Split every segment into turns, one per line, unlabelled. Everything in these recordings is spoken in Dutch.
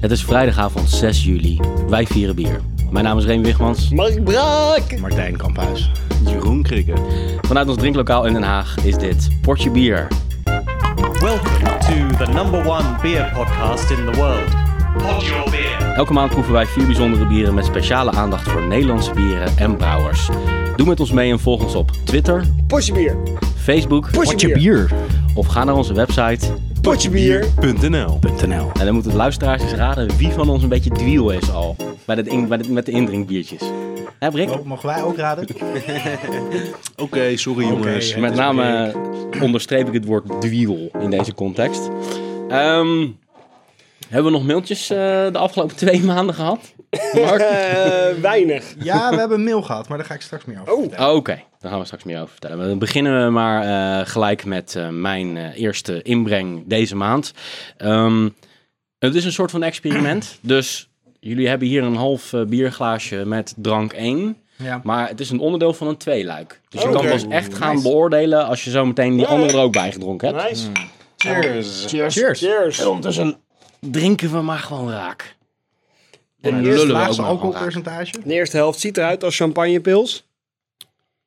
Het is vrijdagavond 6 juli. Wij vieren bier. Mijn naam is Reem Wigmans.
Mark Braak!
Martijn Kamphuis. Jeroen Krikke.
Vanuit ons drinklokaal in Den Haag is dit Portje Bier.
Welcome to the number one beer podcast in the world. Pod your beer.
Elke maand proeven wij vier bijzondere bieren met speciale aandacht voor Nederlandse bieren en brouwers. Doe met ons mee en volg ons op Twitter,
Potje bier!
Facebook
Potje bier!
Bier.nl
of ga naar onze website.
Potje bier!
En dan moeten de luisteraars eens raden wie van ons een beetje deal is al. Bij dit in- bij dit- met de indrinkbiertjes. Hè Brik?
Oh, Mogen wij ook raden?
Oké, sorry jongens.
Met name eh, onderstreep ik het woord dwiel in deze context. Ehm, hebben we nog mailtjes eh, de afgelopen twee maanden gehad? Mark?
Eh, weinig.
Ja, we hebben een mail gehad, maar daar ga ik straks meer over
Oh.
vertellen.
Oké, daar gaan we straks meer over vertellen. Maar Dan beginnen we maar eh, gelijk met eh, mijn eh, eerste inbreng deze maand. Ehm, het is een soort van experiment. Dus jullie hebben hier een half eh, bierglaasje met drank 1.
Ja.
Maar het is een onderdeel van een tweeluik. Dus je
Oh,
kan
oké.
pas echt gaan beoordelen als je zo meteen die andere er ook bij gedronken hebt.
Nice.
Cheers.
Cheers.
Cheers.
Cheers.
Ondertussen drinken we maar gewoon raak. En
Eerst
lullen we ook
laagste
maar gewoon raak.
alcoholpercentage.
De eerste helft ziet eruit als champagnepils.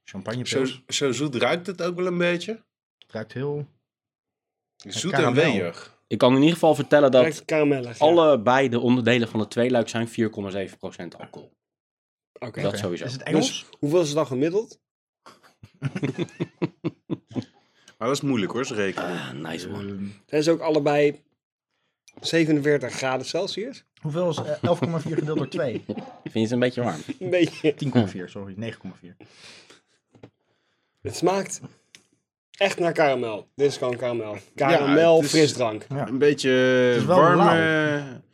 Champagne
Zo, zo zoet ruikt het ook wel een beetje.
ruikt heel...
Zoet en
karamel.
weeg.
Ik kan in ieder geval vertellen dat
Direct karamellig. ja.
allebei de onderdelen van het tweeluik zijn 4,7% alcohol.
Oké.
Dat sowieso.
Is het Engels?
Dus-
Hoeveel is het dan gemiddeld?
Maar dat is moeilijk hoor, ze rekenen.
Ah, nice man.
Zijn ze ook allebei 47 graden Celsius?
Hoeveel is eh, 11,4 gedeeld door 2?
Vind je het een beetje warm?
Een beetje.
10,4, sorry. 9,4.
Het smaakt echt naar karamel. Dit is gewoon karamel. Karamel
het is-
frisdrank.
Een beetje
is wel
warme...
Is het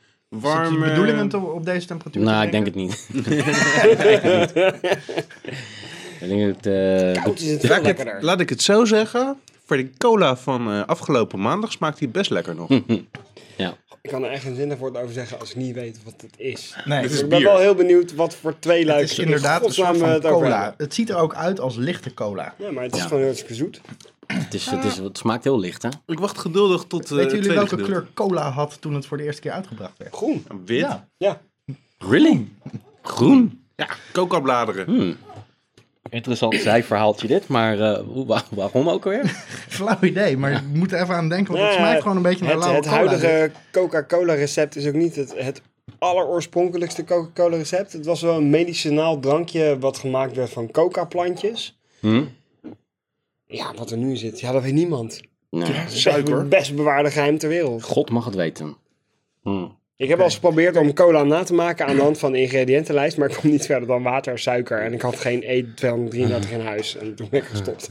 Warme...
je bedoeling om te- op deze temperatuur te
nou, ik denk
drinken?
het niet. Ik denk het niet. Ik denk dat eh,
Koud is het veel
Laat ik, het,
lekkerder.
laat ik het zo zeggen. Voor de cola van eh, afgelopen maandag smaakt die best lekker
Hm.
nog.
Ik kan er echt geen zinnig woord over zeggen als ik niet weet wat het is.
Nee,
Dit
Dus
is
ik ben
bier.
wel heel benieuwd wat voor twee
het
luikjes
is inderdaad een soort
eh,
van cola. Het ziet er ook uit als lichte
Eh,
cola.
Ja, maar het is
Ja.
gewoon heel erg zoet.
het, is, het, is, het smaakt heel licht, hè?
Ik wacht geduldig tot eh, het
Weten jullie
tweede
welke
gedeelte.
kleur cola had toen het voor de eerste keer uitgebracht werd?
Groen.
Wit?
Ja.
Ja,
Ja.
Really? Groen.
Hm.
coca-bladeren. Oh,
Interessant zijverhaaltje dit, maar eh, hoe- wa- waarom ook alweer?
Flauw idee, maar je moet er even aan denken, want het
Ja,
smaakt gewoon een beetje naar
het,
lauwe
het
cola. dus.
huidige Coca-Cola recept is ook niet het, het alleroorspronkelijkste Coca-Cola recept. Het was wel een medicinaal drankje wat gemaakt werd van coca-plantjes.
Hm?
Ja, wat er nu in zit, ja, dat weet niemand.
Nou,
Suiker. Het best bewaarde geheim ter wereld.
God mag het weten. Hm.
Ik heb al eens geprobeerd om cola na te maken aan de hand van de ingrediëntenlijst, maar ik kwam niet verder dan water en suiker. En ik had geen E233 in huis en toen ben ik gestopt.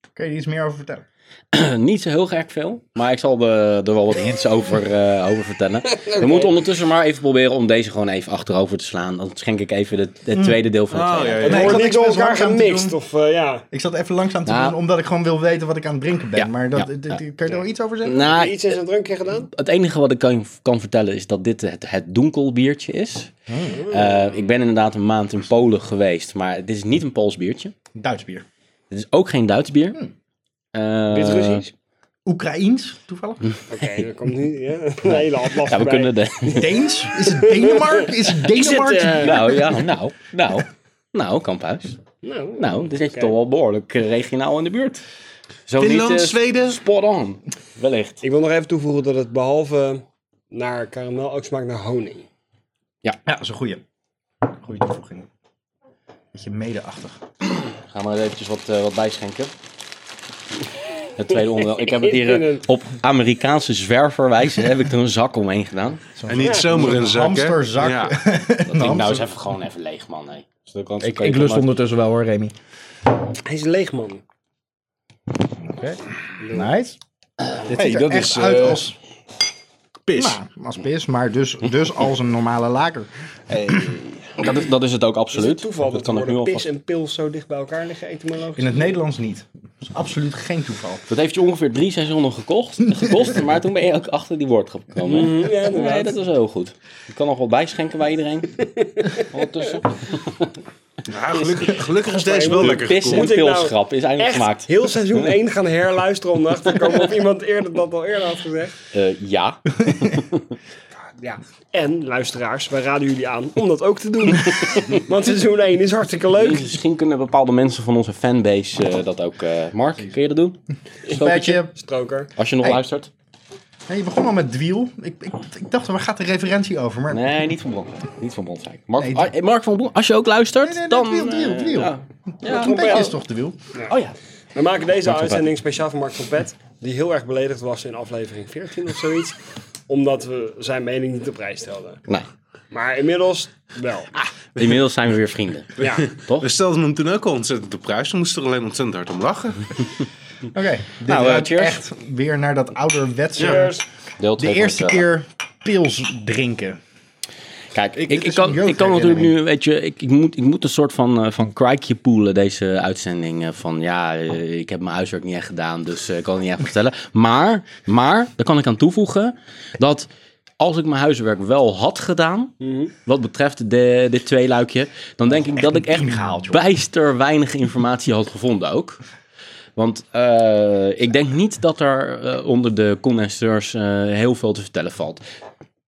Dus Kun je er iets meer over vertellen?
Eh, Niet zo heel gek veel, maar ik zal de, er wel wat hints over, eh, over vertellen. We moeten ondertussen maar even proberen om deze gewoon even achterover te slaan. Dan schenk ik even het, het tweede deel van het
Oh,
tweeluik.
ja,
Het
ja.
Nee, ik
wordt
had
niet
niks
door
met
elkaar
warm te
gemixt
doen.
of eh, ja,
Ik zat even langzaam te
Nou.
doen, omdat ik gewoon wil weten wat ik aan het drinken ben.
Ja,
maar dat,
ja,
dit-
ja.
dit- kun je er wel iets over zeggen?
Nou,
iets in zijn drankje gedaan.
het enige wat ik kan, kan vertellen is dat dit het, het donkelbiertje is. Eh, ik ben inderdaad een maand in Polen geweest, maar dit is niet een Pools biertje.
Duits bier.
Het is ook geen Duits bier. Eh,
Wit-Russisch.
Oekraïens, toevallig.
Oké, dat komt nu ja, een hele atlas
Ja, we
voorbij.
kunnen de...
Deens? Is het Denemarken? Is het Denemarken?
Is het, eh,
Nou, ja, nou, nou, nou, Kamphuis.
Nou,
Nou, dan zit je
Oké.
toch wel behoorlijk eh, regionaal in de buurt. Zo
Finland,
niet, eh,
Zweden.
Spot on. Wellicht.
Ik wil nog even toevoegen dat het behalve naar karamel ook smaakt naar honing.
Ja, dat is een goeie. Goeie toevoeging. Beetje medeachtig.
Gaan we er eventjes wat, eh, wat bijschenken. Het tweede onderdeel. Ik heb het
In
hier eh,
een-
op Amerikaanse zwerverwijze heb ik er een zak omheen gedaan.
En niet zomaar een zak, hè?
hamsterzak.
Ja.
Dat ding nou eens even gewoon even leeg, man. hé. Dus dat kan- dat kan je toch maar-
ondertussen wel hoor, Remy.
Hij is leeg, man.
Nice. Dit
Hey,
ziet er
dat
echt
is,
uit
eh,
als,
Pis.
nou, als pis, maar dus, dus als een normale laker.
Dat is, dat is het ook
Is
absoluut.
het toeval dat,
kan ik nu
nu
alvast-
pis en pils zo dicht bij elkaar liggen, etymologisch?
In het Nederlands niet. Dat is absoluut geen toeval.
Dat heeft je ongeveer drie seizoenen gekocht, gekost, maar toen ben je ook achter die woord gekomen. hè?
Mhm. ja, inderdaad.
nee, dat is heel goed. Ik kan nog wat bijschenken bij iedereen. Ondertussen.
Ja, gelukkig, gelukkig is deze wel
Moet
lekker
Pis en
gekoeld.
Moet ik nou
pilschap is eindelijk
Echt
gemaakt.
heel seizoen 1 gaan herluisteren om achter te komen of iemand eerder dat al eerder had gezegd.
Eh, ja.
Ja. En luisteraars, wij raden jullie aan om dat ook te doen. Want seizoen 1 is hartstikke leuk.
Misschien kunnen bepaalde mensen van onze fanbase eh, dat ook. eh, Mark, kun je dat doen? Stokertje?
Spijtje.
Stroker.
Als je nog
Hey.
luistert.
Nee, je begon al met Dwiel. Ik, ik, ik dacht, waar gaat de referentie over? Maar
Nee, niet van Bronswijk. Niet van Bronswijk. Mark,
Nee,
ah, eh, Mark van Bron, als je ook luistert,
Nee, nee, nee,
dan...
Dwiel, Dwiel,
eh,
Dwiel.
ja. Ja.
een beetje is toch de wiel?
Oh ja.
We maken deze
van
uitzending speciaal voor Mark van Pet, die heel erg beledigd was in aflevering 14 of zoiets. Omdat we zijn mening niet op prijs stelden.
Nee.
Maar inmiddels wel.
Ah,
Inmiddels zijn we weer vrienden.
Ja.
Toch?
We stelden hem toen ook al ontzettend op prijs. We moesten er alleen ontzettend hard om lachen.
Oké, dit
Nou, eh,
ruikt
cheers.
echt weer naar dat ouderwetse...
Cheers.
Deel
De
twee van
eerste
het, eh,
keer pils drinken.
Kijk, ik,
dit
ik,
is een
kan, ik kan
jeugdherinnering.
natuurlijk nu, weet je, ik, ik, moet, ik moet een soort van, eh, van kruikje poelen, deze uitzending. eh, Van ja, eh, ik heb mijn huiswerk niet echt gedaan, dus eh, ik kan het niet echt vertellen. Maar, maar, daar kan ik aan toevoegen, dat als ik mijn huiswerk wel had gedaan,
Mhm.
wat betreft de, dit tweeluikje, dan denk ik dat ik echt
ingehaald, joh.
bijster weinig informatie had gevonden ook. Want eh, ik denk niet dat er eh, onder de condenseurs eh, heel veel te vertellen valt.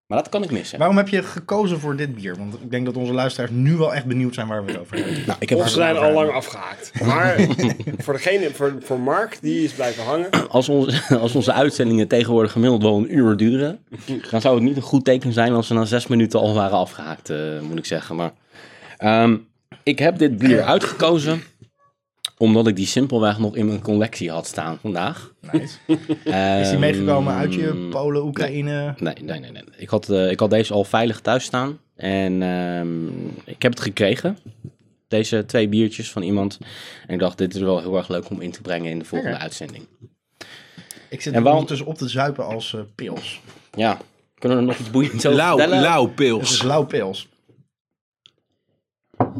Maar dat kan ik missen.
Waarom heb je gekozen voor dit bier? Want ik denk dat onze luisteraars nu wel echt benieuwd zijn waar we het over hebben.
Nou, ik heb
Of ze zijn al lang afgehaakt. Maar voor, degene, voor, voor Mark, die is blijven hangen.
Als, onze als onze uitzendingen tegenwoordig gemiddeld wel een uur duren, dan zou het niet een goed teken zijn als ze na zes minuten al waren afgehaakt, eh, moet ik zeggen. Maar ehm, ik heb dit bier uitgekozen omdat ik die simpelweg nog in mijn collectie had staan vandaag.
Nice. Is die
Nou, Ehm,
meegekomen uit je Polen, Oekraïne?
Nee, nee, nee. nee. Ik, had, eh, ik had deze al veilig thuis staan. En ehm, ik heb het gekregen. Deze twee biertjes van iemand. En ik dacht, dit is wel heel erg leuk om in te brengen in de volgende
Oké.
uitzending.
Ik zit
En waarom-
ondertussen op te zuipen als eh, pils.
Ja, kunnen we er nog iets boeiends over
Lauw,
vertellen?
lauw
Het is
pils.
lauw pils.
Ja,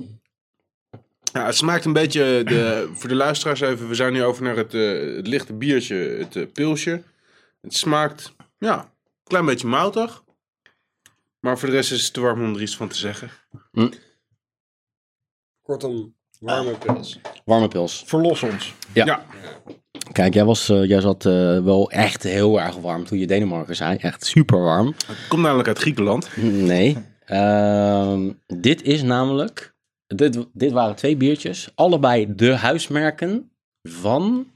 Nou, het smaakt een beetje, de, voor de luisteraars even, we zijn nu over naar het, eh, het lichte biertje, het eh, pilsje. Het smaakt, ja, een klein beetje moutig. Maar voor de rest is het te warm om er iets van te zeggen.
Kortom,
Ah.
warme pils.
Warme pils.
Verlos ons.
Ja. Kijk, jij, was, eh, jij zat eh, wel echt heel erg warm toen je Denemarken zei. Echt super warm.
Het komt namelijk uit Griekenland.
Nee. Ehm, dit is namelijk. Dit, dit waren twee biertjes. Allebei de huismerken van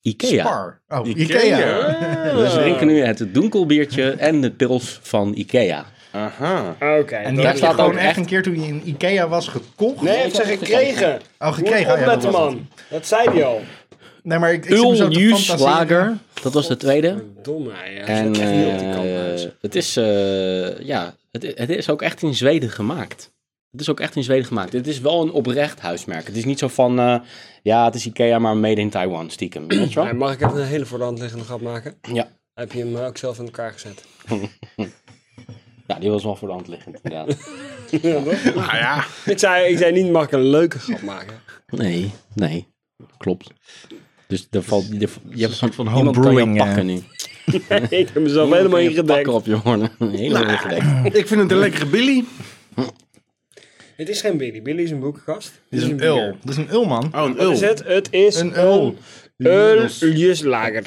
Ikea.
Spar. Oh, Ikea.
Dus we drinken nu het donkelbiertje en de pils van Ikea.
Aha.
Ah, Oké.
En
dat-
die heb je
staat ook
gewoon echt
echt-
een keer toen je in Ikea was gekocht.
Nee, ik zeg gekregen.
Oh,
Moet
gekregen. Oh, ja,
opletten,
dat was
man. Dat zei hij al.
Nee, maar ik, ik zit me zo
Ul
te
Jus
fantaseren.
Lager, dat was de tweede.
Domme, ja.
En
Zet echt niet op die kant,
eh,
mensen.
het is, eh, ja, het, i- het is ook echt in Zweden gemaakt. Het is ook echt in Zweden gemaakt. Het is wel een oprecht huismerk. Het is niet zo van, eh, ja, het is Ikea, maar made in Taiwan, stiekem. Weet je wel?
Hey, Eh, Mag ik even een hele voor de hand liggende grap maken?
Ja.
Heb je hem eh, ook zelf in elkaar gezet?
ja, die was wel voor de hand liggend, inderdaad.
Nou ja,
Ik zei, ik zei niet, mag ik een leuke grap maken?
Nee, nee, klopt. Dus er valt, er, je hebt een soort van
homebrewing,
iemand kan je
eh,
pakken nu.
ik heb mezelf helemaal
Kan je
ingedekt.
Pakken op je hoorn. Helemaal ingedekt.
ik vind het een lekkere Billy.
Het is geen Billy. Billy is een boekenkast.
Dit is een ul. Dit is een ul, man.
Oh, een
Wat is
ul.
het? Het is
Een
een
ul.
Uljuslager.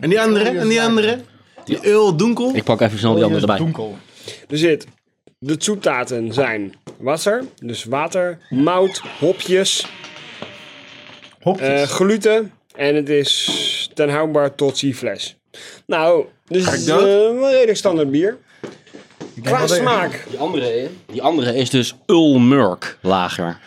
En die andere? En die andere? Die ul donkel?
Ik pak even snel die andere erbij.
Donkel.
Er zit, de zoetaten zijn wasser, dus water, mout, hopjes, eh,
Hopjes.
gluten en het is ten houdbaar tot fles. Nou, dus het is
dood?
eh, een redelijk standaard bier.
Ik denk
Qua
wel dat-
smaak.
Die andere, die andere is dus Ulmurk lager.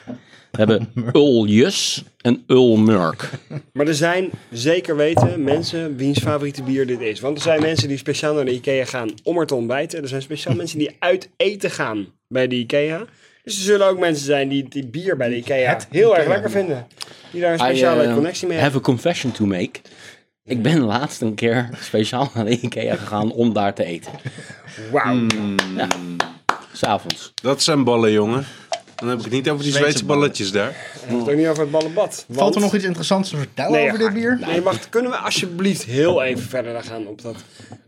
We hebben Uljus en Ulmurk.
Maar er zijn zeker weten mensen wiens favoriete bier dit is. Want er zijn mensen die speciaal naar de IKEA gaan om er te ontbijten. Er zijn speciaal mensen die uit eten gaan bij de IKEA. Dus er zullen ook mensen zijn die, die bier bij de IKEA
Het
heel erg
IKEA.
lekker vinden. Die daar een speciale
I, eh,
connectie mee hebben.
have a confession to make. Ik ben laatst een keer speciaal naar de Ikea gegaan om daar te eten.
Wauw.
Hmm.
S'avonds.
Dat zijn ballen, jongen. Dan heb ik het niet over die
Zweedse
Zweedse balletjes daar.
Ik heb het ook niet over het ballenbad.
Valt er nog iets interessants te vertellen
Nee,
over
ja,
dit bier?
Nee, wacht. Kunnen we alsjeblieft heel even verder gaan op dat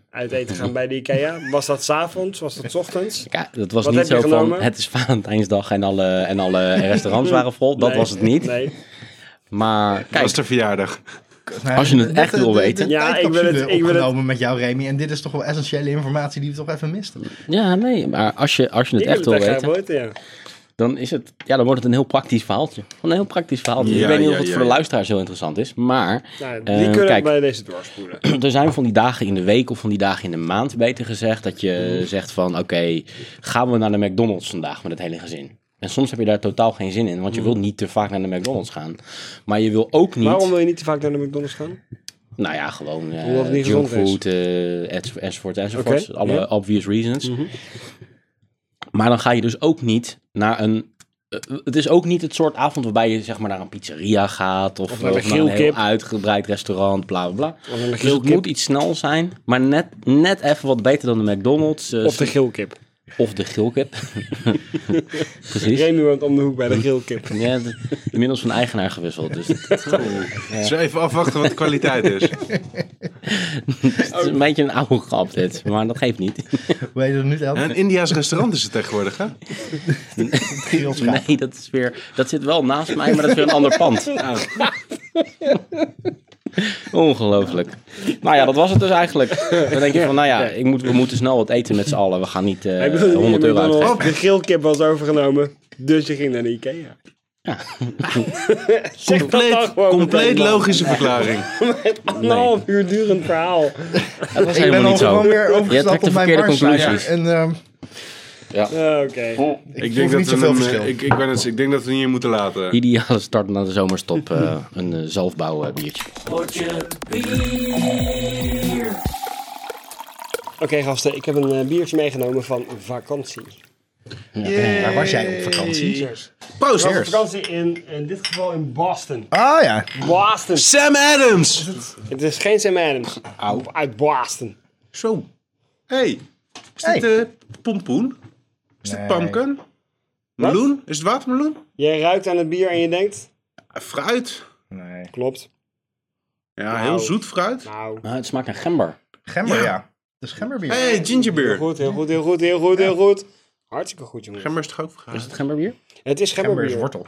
uit eten gaan bij de Ikea. Was dat s'avonds? Was dat 's ochtends?
Ja, dat was
Wat
niet
heb je
zo van
genomen?
het is Valentijnsdag en alle, en alle restaurants waren vol. Dat
Nee,
was het niet.
Nee.
Maar
Dat
kijk,
is de verjaardag.
Nou,
Als je het
net
echt
de-
wil
de- de
weten.
Ja, ik wil het-
tijdcapsule
ik wil het-
opgenomen met jou, Remy. En dit is toch wel essentiële informatie die we toch even misten.
ja, nee, maar als je, als je het
Ik
echt
wil
wil
het echt graag
weten,
weten, ja.
dan, is het, ja, dan wordt het een heel praktisch verhaaltje. Een heel praktisch verhaaltje.
Ja,
ik weet niet
ja,
of het
ja,
voor de
ja.
luisteraars heel interessant is, maar
Nou,
Eh,
die kunnen
kijk.
we bij deze doorspoelen.
er zijn van die dagen in de week of van die dagen in de maand, beter gezegd, dat
Mm.
je zegt van oké, gaan we naar de McDonald's vandaag met het hele gezin. En soms heb je daar totaal geen zin in, want
Mm.
je wilt niet te vaak naar de McDonald's gaan. Maar je wil ook niet...
Waarom wil je niet te vaak naar de McDonald's gaan?
Nou ja, gewoon eh,
Omdat het niet gezond is.
junkfood, eh, enz- enzovoort, enzovoort.
Oké,
Alle
ja. Mhm.
obvious reasons. Maar dan ga je dus ook niet naar een... eh, het is ook niet het soort avond waarbij je zeg maar naar een pizzeria gaat... of,
naar de
of naar een heel
grillkip.
uitgebreid restaurant, bla bla bla.
Of naar de
Dus het
grillkip.
moet iets snel zijn, maar net, net even wat beter dan de McDonald's. eh,
Of de grillkip.
of de grillkip. Precies.
Remy woont om de hoek bij de grillkip.
Ja, d- inmiddels van eigenaar gewisseld. Dus het
Dus even afwachten wat de kwaliteit is.
is
Oh.
een beetje een oude grap dit, maar dat geeft niet.
Weet je dat nu elke
Een Indiaas restaurant is het tegenwoordig, hè?
keer
Nee, dat is weer. Dat zit wel naast mij, maar dat is weer een ander pand. Ongelooflijk. Nou ja, dat was het dus eigenlijk. Dan denk je van, nou ja, ik moet, we moeten snel wat eten met z'n allen. We gaan niet eh,
Hij wilde niet
100
naar
euro
McDonald's.
uit.
De grillkip was overgenomen, dus je ging naar de Ikea. Zeg dat dan
Compleet,
gewoon
compleet
meteen.
logische verklaring.
Anderhalf uur durend verhaal.
Dat was
Ik ben
helemaal
al
niet
gewoon
zo.
weer
Jij trekt
overgestapt
de
op mijn
verkeerde
barsluiter.
conclusies.
En ehm,
Ah, Oké.
ik, denk niet
we
zoveel
hem, eh,
verschil.
Ik, ik, ben het, ik denk dat we hem hier moeten laten.
Ideale start na de zomerstop. eh, een eh, zelfbouw eh, biertje.
Oké gasten, ik heb een eh, biertje meegenomen van vakantie.
Waar was jij op vakantie?
Proost.
Ik was op vakantie in, in dit geval in Boston.
Ah ja.
Boston.
Sam Adams!
Het is geen Sam Adams. Uit Boston.
Zo. Hey, is dit
Hey.
eh, pompoen? Is
Nee.
dit pumpkin? Meloen? Is het watermeloen?
Jij ruikt aan het bier en je denkt...
Ah, Fruit.
Nee.
Klopt.
Ja,
Nou.
heel zoet fruit.
Nou,
Nou, het smaakt naar gember.
Gember, ja. Dat is gemberbier.
Hey, gingerbeer.
goed, heel goed, heel goed, heel goed, heel goed. Hartstikke goed, jongen.
Gember is toch ook
Is
fruit?
het gemberbier?
Het is
gember is
gemberbier.
wortel.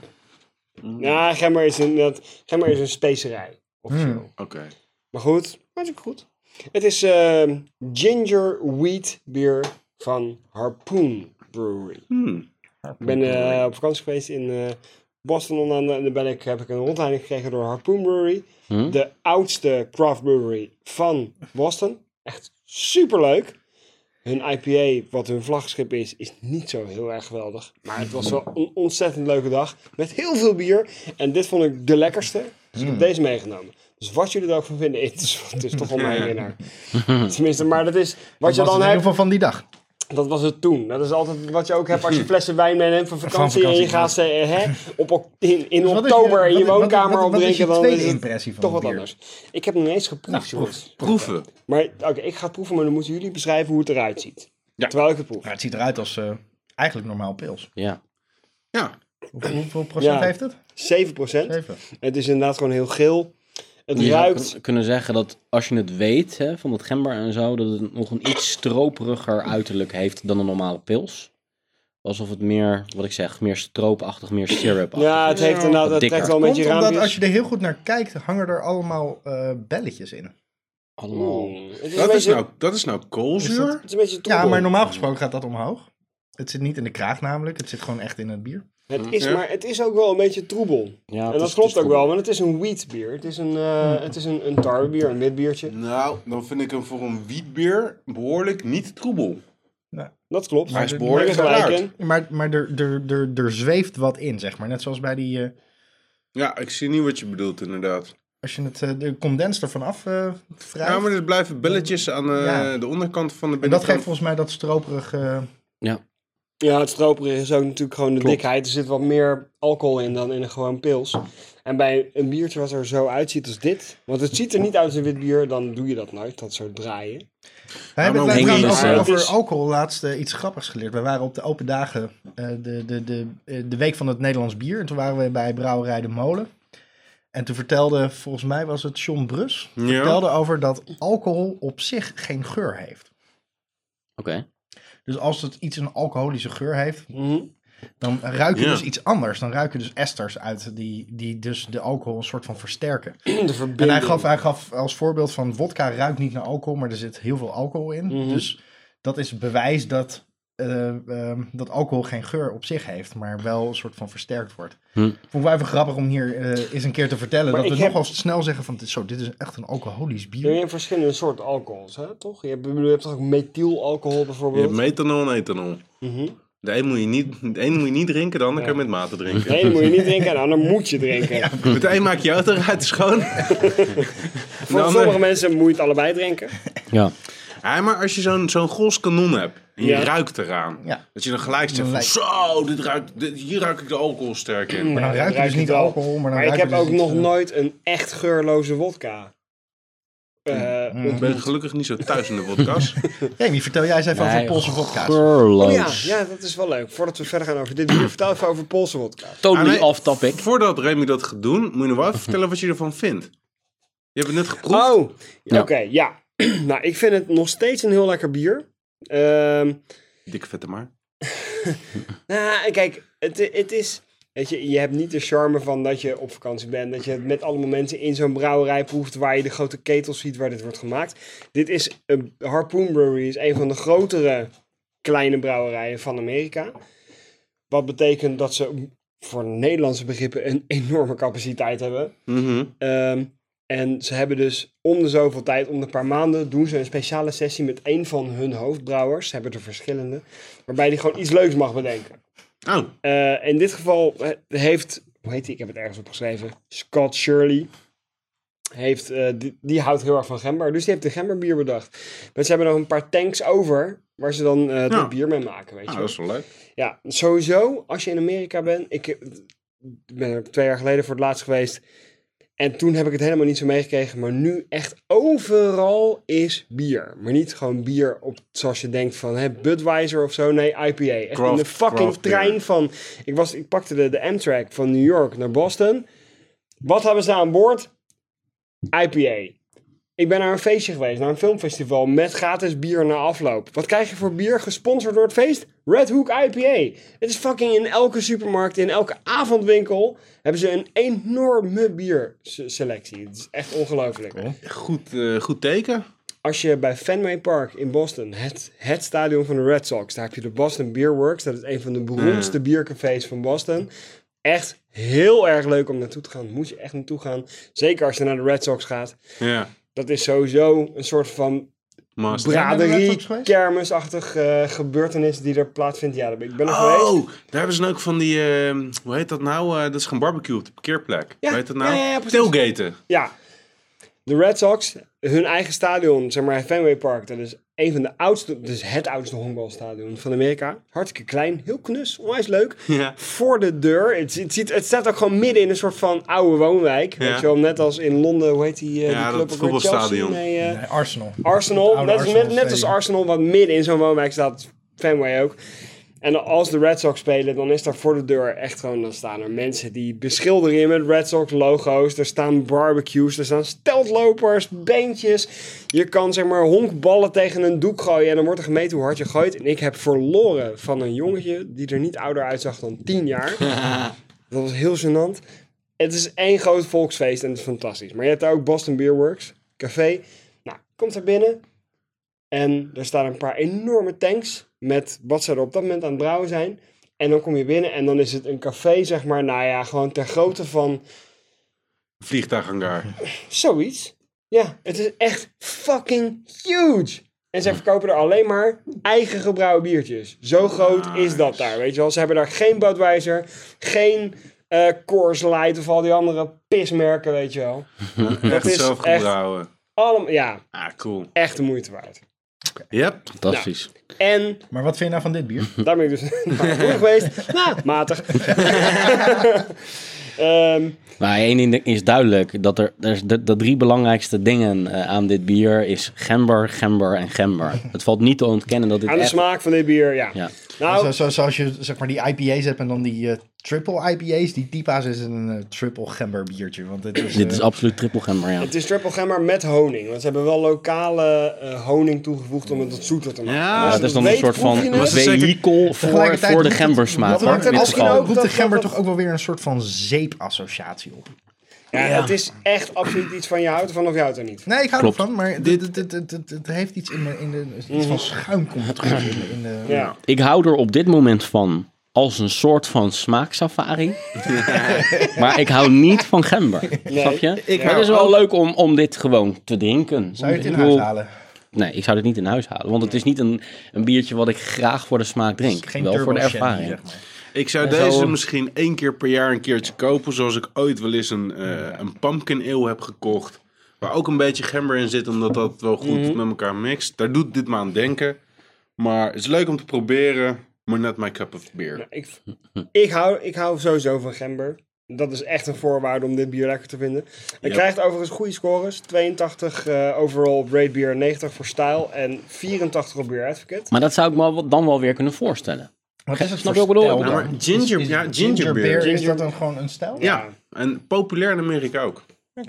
Ja, gember is een, dat, gember is een specerij.
Hmm.
Officieel.
Oké.
Maar goed, hartstikke goed. Het is ehm, ginger wheat beer van Harpoon Brewery.
Hmm.
Ik ben eh, op vakantie geweest in eh, Boston onder andere. En daar ben ik, heb ik een rondleiding gekregen door Harpoon Brewery.
Hm?
De oudste craft brewery van Boston. Echt superleuk. Hun IPA, wat hun vlaggenschip is, is niet zo heel erg geweldig. Maar het was wel een ontzettend leuke dag. Met heel veel bier. En dit vond ik de lekkerste. Dus ik heb deze meegenomen. Dus wat jullie er ook van vinden, het is, het is toch wel mijn winnaar. Tenminste, maar dat is wat je
Dat was
dan
in ieder
hebt.
geval van die dag.
Dat was het toen. Dat is altijd wat je ook hebt als je flessen wijn meeneemt van vakantie.
vakantie,
en je gaat ze, eh, hè, op, ok- in, in
Dus wat is je-
oktober in je
wat- wat-
woonkamer
wat- wat is je
opdrinken. Dan
tweede
is het
impressie van
toch
het
wat
bier? Nou,
anders. Ik heb nog niet eens geproefd, jongens.
Proeven.
Maar oké, ik ga het proeven, maar dan moeten jullie beschrijven hoe het eruit ziet.
Ja.
Terwijl ik het proef.
Maar het ziet eruit als eh, eigenlijk normaal pils.
Ja.
Ja.
Hoe- hoeveel procent
Ja.
heeft het?
7%.
Even.
Het is inderdaad gewoon heel geel. Het
Je zou
ruikt.
kun- kunnen zeggen dat als je het weet hè, van dat gember en zo, dat het nog een iets stroperiger uiterlijk heeft dan een normale pils. Alsof het meer, wat ik zeg, meer stroopachtig, meer syrupachtig.
Ja, het heeft inderdaad. Het
dikker.
trekt wel een
Komt
beetje
omdat als
raampjes.
je er heel goed naar kijkt, hangen er allemaal eh, belletjes in.
Allemaal.
Oeh, Het is een
Dat is
beetje-
nou, dat is nou koolzuur.
het is een beetje
Ja,
troebel.
maar normaal gesproken gaat dat omhoog. Het zit niet in de kraag namelijk, het zit gewoon echt in het bier.
Het is,
Ja.
maar het is ook wel een beetje troebel.
Ja,
en
het
dat
is- Hmm.
klopt
het is
ook wel, want het is een wheatbier. Het is een, eh het is een, een tarwebier, een witbiertje.
Nou, dan vind ik hem voor een wietbier behoorlijk niet troebel.
Dat klopt.
Maar hij is
Daar
behoorlijk
heb je gelijk
verklaard.
in.
Maar, maar er, er, er, er zweeft wat in, zeg maar. Net zoals bij die, eh,
Ja, ik zie niet wat je bedoelt inderdaad.
als je het, eh, de condens ervan af eh wrijft.
Ja, maar er blijven belletjes aan eh,
Ja.
de onderkant van de
En dat
binnenkant.
geeft volgens mij dat stroperig... eh,
Ja, het stroperig is ook natuurlijk gewoon de
Klopt.
dikheid. Er zit wat meer alcohol in dan in een gewoon pils. En bij een biertje wat er zo uitziet als dit, want het ziet er niet uit als een wit bier, dan doe je dat nooit, dat soort draaien.
We hebben
maar
het
hoe
trouwens
hang je
over,
dat, eh,
over alcohol laatst eh, iets grappigs geleerd. We waren op de open dagen, eh, de, de, de, eh, de week van het Nederlands bier. En toen waren we bij Brouwerij de Molen. En toen vertelde, volgens mij was het John Brus,
Ja.
vertelde over dat alcohol op zich geen geur heeft.
Oké.
Dus als het iets een alcoholische geur heeft, dan ruik je
Mhm. Ja.
dus iets anders. Dan ruik je dus esters uit die, die dus de alcohol een soort van versterken.
De
En hij
verbinding.
gaf, hij gaf als voorbeeld van wodka ruikt niet naar alcohol, maar er zit heel veel alcohol in.
Mhm.
Dus dat is bewijs dat, eh, ehm, dat alcohol geen geur op zich heeft, maar wel een soort van versterkt wordt. Vond ik wel even grappig om hier eh, eens een keer te vertellen.
Maar
dat
ik
we
heb-
nogal snel zeggen van, dit, zo, dit is echt een alcoholisch bier.
Je hebt verschillende soorten alcohols, hè, toch? Je hebt, ik bedoel, je hebt toch ook methylalcohol
Je hebt
bijvoorbeeld?
methanol en ethanol.
Mhm.
De een moet je niet, de een moet je niet drinken, de ander kan je met mate drinken.
Nee, dan moet je niet drinken, en de ander moet je drinken.
Met de een maak je auto eruit schoon.
Voor
Nou,
sommige
nee.
mensen moet je het allebei drinken.
Ja.
Ja, maar als je zo'n zo'n gros kanon hebt en je
Ja.
ruikt eraan,
Ja.
dat je dan gelijk zegt
Dan
van,
lijkt-
zo, dit ruikt, dit- hier ruik ik de alcohol sterk in.
Maar dan
Ja,
ruik je dus
ik
niet
wel.
alcohol, maar dan
ik
ruik je
heb
dus
ook
iets,
nog
eh,
nooit een echt geurloze wodka. Eh,
Mm,
Ik ben gelukkig niet zo thuis in de podcast.
Jamie, vertel jij eens even over
Nee,
Poolse vodka's.
oh
Geurloos.
ja, ja, dat is wel leuk. Voordat we verder gaan over dit bier, vertel even over Poolse wodka.
Totally
Ah, nee.
off topic.
Voordat Remy dat gaat doen, moet je nog wel even vertellen wat je ervan vindt. Je hebt het net geproefd.
Oh,
Ja.
oké, ja. nou, ik vind het nog steeds een heel lekker bier. Ehm
Dikke vette maar.
Nou, kijk, het, het is. Weet je, je hebt niet de charme van dat je op vakantie bent. Dat je het met allemaal mensen in zo'n brouwerij proeft. Waar je de grote ketels ziet waar dit wordt gemaakt. Dit is. Een, Harpoon Brewery is een van de grotere kleine brouwerijen van Amerika. Wat betekent dat ze voor Nederlandse begrippen een enorme capaciteit hebben.
Mhm.
Ehm, en ze hebben dus om de zoveel tijd, om de paar maanden, doen ze een speciale sessie met één van hun hoofdbrouwers. Ze hebben er verschillende. Waarbij die gewoon iets leuks mag bedenken.
Oh,
Eh, in dit geval eh, heeft, hoe heet die? Ik heb het ergens opgeschreven. Scott Shirley. Heeft, eh, die, die houdt heel erg van gember. Dus die heeft de gemberbier bedacht. Maar ze hebben nog een paar tanks over. Waar ze dan eh
Ja.
dit bier mee maken. Weet je
nou,
wel.
dat is wel leuk.
Ja, sowieso, als je in Amerika bent. Ik eh, ben er twee jaar geleden voor het laatst geweest. En toen heb ik het helemaal niet zo meegekregen. Maar nu echt overal is bier. Maar niet gewoon bier op, zoals je denkt van hè, Budweiser of zo. Nee, IPA. Echt in
Craft-
de fucking
craft beer.
trein van... Ik, was, ik pakte de, de Amtrak van New York naar Boston. Wat hebben ze aan boord? IPA. Ik ben naar een feestje geweest, naar een filmfestival met gratis bier na afloop. Wat krijg je voor bier gesponsord door het feest? Red Hook IPA. Het is fucking in elke supermarkt, in elke avondwinkel hebben ze een enorme bierselectie. Het is echt ongelooflijk.
Goed, eh, goed teken.
Als je bij Fenway Park in Boston, het, het stadion van de Red Sox, daar heb je de Boston Beer Works. Dat is een van de beroemdste biercafés van Boston. Echt heel erg leuk om naartoe te gaan. Moet je echt naartoe gaan. Zeker als je naar de Red Sox gaat.
Ja,
Dat is sowieso een soort van
master.
Zijn we naar de Red
braderie,
Sox geweest?
kermisachtig eh, gebeurtenis die er plaatsvindt. Ja, daar ben ik ik ben er geweest.
Oh, daar hebben ze dan ook van die, eh, hoe heet dat nou? Eh, dat is geen barbecue op de parkeerplek.
Ja,
Hoe heet dat nou?
ja, ja, ja, precies.
Tailgaten.
Ja, de Red Sox, hun eigen stadion, zeg maar Fenway Park, dat is een van de oudste, dus het oudste honkbalstadion van Amerika. Hartstikke klein, heel knus, onwijs leuk.
Ja.
Voor de deur, het, het, ziet, het staat ook gewoon midden in een soort van oude woonwijk. Weet
Ja.
je wel, net als in Londen, hoe heet die, eh
Ja,
die
dat
club ook weer?
voetbalstadion.
Chelsea? Nee, eh,
Nee, Arsenal.
Arsenal,
Oude
net, als- net,
Arsenal
net als
stadion.
Arsenal, wat midden in zo'n woonwijk staat, Fenway ook. En als de Red Sox spelen, dan is daar voor de deur echt gewoon, dan staan er mensen die beschilderen je met Red Sox logo's. Er staan barbecues, er staan steltlopers, beentjes. Je kan zeg maar honkballen tegen een doek gooien en dan wordt er gemeten hoe hard je gooit. En ik heb verloren van een jongetje die er niet ouder uitzag dan 10 jaar. Dat was heel gênant. Het is één groot volksfeest en het is fantastisch. Maar je hebt daar ook Boston Beer Works, café. Nou, komt er binnen en er staan een paar enorme tanks met wat ze er op dat moment aan het brouwen zijn. En dan kom je binnen en dan is het een café, zeg maar, nou ja, gewoon ter grootte van
Vliegtuighangar.
zoiets. Ja, het is echt fucking huge. En ze verkopen er alleen maar eigen gebrouwen biertjes. Zo groot is dat daar, weet je wel. Ze hebben daar geen Budweiser, geen eh Coors Light of al die andere pismerken, weet je wel.
Echt
is
zelf
echt-
gebrouwen.
Allemaal, ja,
Ah, cool.
echt de moeite waard.
Yep.
Fantastisch.
En
Maar wat vind je nou van dit bier?
Daar ben ik dus een paar keer geweest. Nou, matig. Ehm,
Maar één ding is duidelijk. Dat er, er is de, de drie belangrijkste dingen eh, aan dit bier is gember, gember en gember. Het valt niet te ontkennen dat dit
aan de
echt...
smaak van dit bier, ja.
Ja.
Nou,
Zo, zo, zoals je zeg maar die IPA's hebt en dan die eh, triple IPA's. Die typa's is een eh, triple gember biertje. Want dit is,
Dit
eh,
is absoluut triple gember, ja.
het is triple gemmer met honing. Want ze hebben wel lokale eh, honing toegevoegd om het wat zoeter te maken.
Ja,
Ja,
Dus als
dat is
je
dan een
weet,
soort
proef je
van
het.
vehikel voor,
tegelijkertijd
voor de
roept het-
gembersmaak.
dat maakt
in
er
dit
misschien
geval.
ook-
roept de
dat-
gember
dat-
toch ook wel weer een soort van zeepassociatie op.
Ja, het is echt absoluut iets van je houdt ervan of je houdt er niet.
Nee, ik hou
Klopt.
ervan, maar dit, Mhm. dit, dit, dit, dit heeft iets, in de, in de, iets van schuim komt terug in de, in de-
Ja.
Ik hou er op dit moment van als een soort van smaaksafari. maar ik hou niet van gember. Snap je? maar
hou
het is wel
ook-
leuk om, om dit gewoon te drinken.
Zou je het in
Ik
huis
bedoel,
halen?
Nee, ik zou dit niet in huis halen. Want het is niet een, een biertje wat ik graag voor de smaak drink.
Geen
wel
turbo
voor de
shandy,
ervaring.
zeg maar.
Ik zou
zou-
deze misschien één keer per jaar een keertje kopen. Zoals ik ooit wel eens een, eh, een pumpkin ale heb gekocht. Waar ook een beetje gember in zit, omdat dat wel goed
Mhm.
met elkaar mixt. Daar doet dit me aan denken. Maar het is leuk om te proberen, maar not my cup of beer.
Ik, ik, hou, ik hou sowieso van gember. Dat is echt een voorwaarde om dit bier lekker te vinden. Hij
Yep.
krijgt overigens goede scores. 82 eh, overall op Rate Beer, 90 voor Style en 84 op Beer Advocate.
Maar dat zou ik me wel- dan wel weer kunnen voorstellen.
Wat is het
Snap
voor
je wat ik bedoel?
stijl
Ja,
dan?
Nou, maar ginger-
Is- is
ja, ginger beer.
Is
Ginger-
dat dan gewoon een stijl?
Ja, en populair in Amerika ook.
Nou,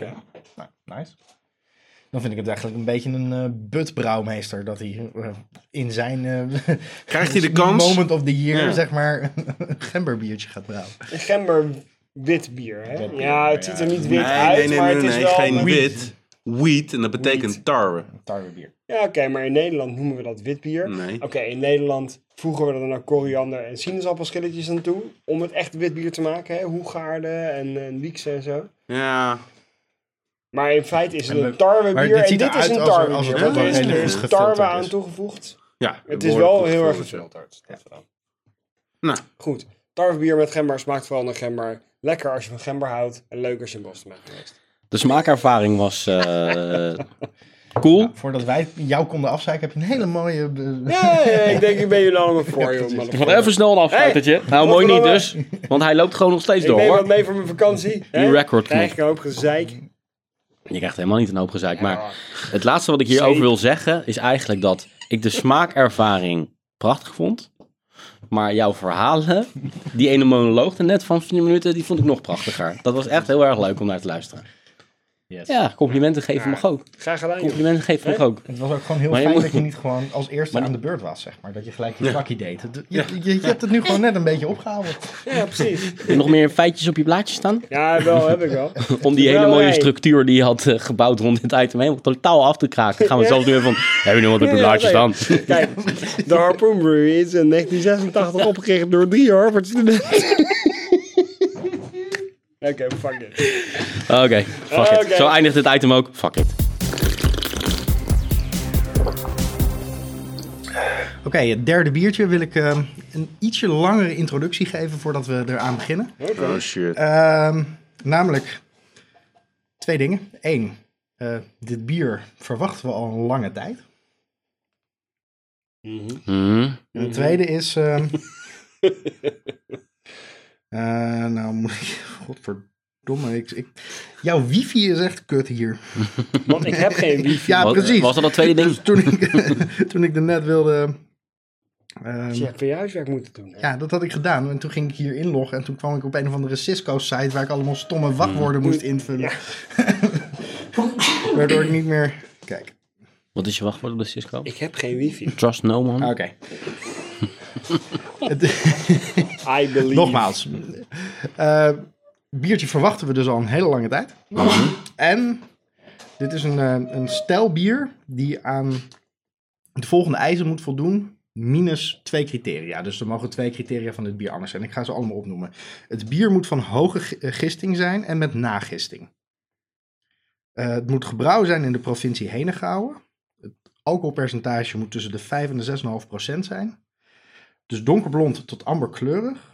nice. Dan vind ik het eigenlijk een beetje een eh butbrouwmeester. Dat hij eh, in zijn eh,
Krijgt hij de kans?
moment of the year,
Ja.
zeg maar, een gemberbiertje gaat brouwen.
Een gember wit bier, hè?
Wit bier,
ja, het
ja.
ziet er niet wit uit, maar het is wel...
geen
een-
wit. Wheat, en dat betekent tarwe.
Tarwebier.
Ja, oké, maar in Nederland noemen we dat wit bier.
Nee.
Oké, in Nederland voegen we er dan ook koriander en sinaasappelschilletjes aan toe. Om het echt wit bier te maken, hè? Hoegaarden en, en wieks en zo.
Ja,
Maar in feite is het
En
een
we-
tarwebier.
maar dit
En
ziet
dit is
eruit
een
als een-
tarwebier.
als een-
want Er is-
als een-
er
als
is
een
tarwe
gefilterd
aan
is.
toegevoegd.
ja
Het is
behoorlijk
wel
goed
heel erg
gefilterd. Nou,
Goed. Tarwebier met gember smaakt vooral naar gember. Lekker als je van gember houdt. En leuk als je in Boston bent geweest.
De smaakervaring was eh, cool.
Voordat wij jou konden afzeiken, heb je een hele mooie... eh,
Ja, ja, ik denk ik ben jullie allemaal voor, joh.
Van
motherfucker.
even snel een afsluitertje. nou, mooi niet dus. Want hij loopt gewoon nog steeds
Ik
door,
neem wat
hoor.
mee voor mijn vakantie. hè?
Die record
Krijg
knop.
ik een hoop gezeik.
Je krijgt helemaal niet een hoop gezeik. Maar het laatste wat ik hierover wil zeggen is eigenlijk dat ik de smaakervaring prachtig vond. Maar jouw verhalen, die ene monoloog net van vier minuten, die vond ik nog prachtiger. Dat was echt heel erg leuk om naar te luisteren.
Yes.
Ja, complimenten geven mag ook.
Graag gedaan, joh.
Complimenten geven mag ook.
Het was ook gewoon heel
Maar je
fijn
moet-
dat je niet gewoon als eerste aan de beurt was, zeg maar. Dat je gelijk je vakkie deed. Het- Je, je, je hebt het nu gewoon net een beetje opgehouden.
Ja, precies.
Heb je nog meer feitjes op je blaadje staan?
Ja, wel, heb ik wel.
Om die hele
Wel,
mooie
hey.
structuur die je had eh, gebouwd rond dit item helemaal totaal af te kraken. Gaan we
Ja.
zelfs nu even van, heb je nog wat met mijn
Ja,
blaadje
nee.
staan?
Kijk, de Harpoon Brewery is in 1986 opgericht door drie Harvard-studenten. Oké, fuck it.
Oké, fuck it.
Oké.
Zo eindigt dit item ook. Fuck it.
Oké, het derde biertje wil ik ehm, een ietsje langere introductie geven voordat we eraan beginnen.
oh shit.
Ehm, namelijk twee dingen. Eén, eh, dit bier verwachten we al een lange tijd.
Hmm.
En de tweede is. ehm, eh, nou, moet ik. Godverdomme. Ik, ik, jouw wifi is echt kut hier.
Want ik heb geen wifi.
Ja,
Wat-
precies.
Was dat dat tweede ding?
Dus toen ik, toen ik er net wilde. ehm,
Je hebt voor je huiswerk moeten doen. hè?
ja, dat had ik gedaan. En toen ging ik hier inloggen. En toen kwam ik op een of andere Cisco-site waar ik allemaal stomme wachtwoorden moest invullen. Waardoor ik niet meer. Kijk.
Wat is je wachtwoord op de Cisco?
Ik heb geen wifi.
Trust no man.
Oké. Het-
I believe.
Nogmaals. Eh, biertje verwachten we dus al een hele lange tijd. En dit is een, eh, een stijl bier die aan de volgende eisen moet voldoen. Minus twee criteria. Dus er mogen twee criteria van dit bier anders zijn. Ik ga ze allemaal opnoemen. Het bier moet van hoge gi- eh, gisting zijn en met nagisting. Eh, het moet gebrouwen zijn in de provincie Henegouwen. Het alcoholpercentage moet tussen de 5 en de 6,5 procent zijn. Dus donkerblond tot amberkleurig.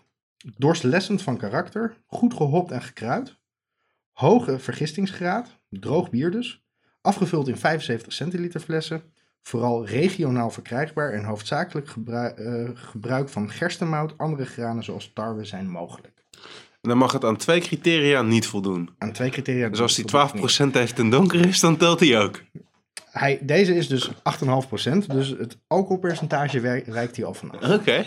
Dorstlessend van karakter. Goed gehopt en gekruid. Hoge vergistingsgraad. Droog bier dus. Afgevuld in 75 centiliter flessen. Vooral regionaal verkrijgbaar en hoofdzakelijk gebru- eh, gebruik van gerstenmout. Andere granen zoals tarwe zijn mogelijk.
Dan mag het aan twee criteria niet voldoen.
Aan twee criteria.
Dus als die 12%
voldoet niet.
heeft en donker is, dan telt hij ook.
Hij, deze is dus 8,5%. Dus het alcoholpercentage wer- reikt hier al vanaf.
Oké.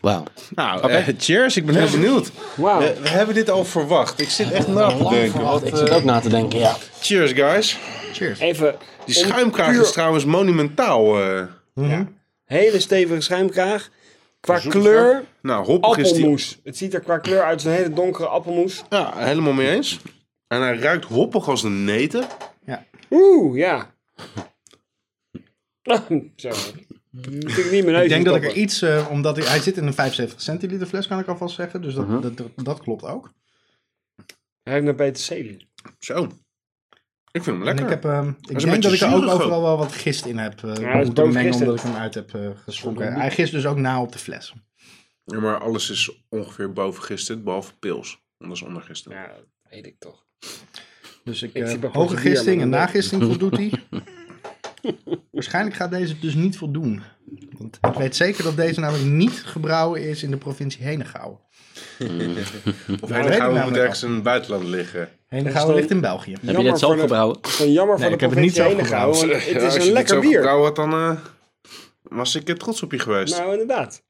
Wauw.
Nou, eh, cheers. Ik ben heel benieuwd.
Wauw.
Eh, We, we hebben dit al verwacht. Ik zit echt na te denken. Wat,
Ik zit ook na te denken, ja.
eh, cheers, guys.
Even
Die
om-
schuimkraag
puur-
is trouwens monumentaal. eh.
hele stevige schuimkraag. Qua
Zoek
kleur,
het op. Nou, hoppig is die.
appelmoes. Het ziet er qua kleur uit als een hele donkere appelmoes.
Ja, helemaal mee eens. En hij ruikt hoppig als een neten.
Oeh, ja. Zo. Ik denk niet mijn neus
Ik denk dat ik er
verstoppen.
iets, eh, omdat hij, hij zit in een 75 centiliter fles, kan ik alvast zeggen. Dus dat, dat, dat, dat klopt ook.
Hij ruikt naar peterselie.
Zo. Ik vind hem
En
lekker.
ik heb, ehm, ik
beetje
denk dat ik er ook
zuurig ook.
overal wel wat gist in heb eh
hij is
moeten mengen,
doodgist, hè?
omdat ik hem uit heb eh geschonken. Hij gist dus ook na op de fles.
Ja, maar alles is ongeveer boven gisteren, behalve pils. Anders onder gisteren.
Ja, dat weet ik toch.
Dus ik,
Ik
eh,
zie bij
hoge
particulier,
gisting
maar
en
dan-
nagisting voldoet hij. Waarschijnlijk gaat deze dus niet voldoen. Want ik weet zeker dat deze namelijk niet gebrouwen is in de provincie Henegouwen.
Of
weet ik
dan gaan we moet
namelijk
ergens in het buitenland liggen.
Henegouwen ligt in België.
Heb je dit zelf
voor de-
gebrouwen?
Het is wel jammer
Nee,
voor
ik
de
heb het niet
provincie
zelf
Henegouwen, want
gebrouwen.
Ja,
Het is
als je
een
dit
lekker
zo
bier.
verkouden had, dan eh, was ik er trots op je geweest.
Nou, inderdaad.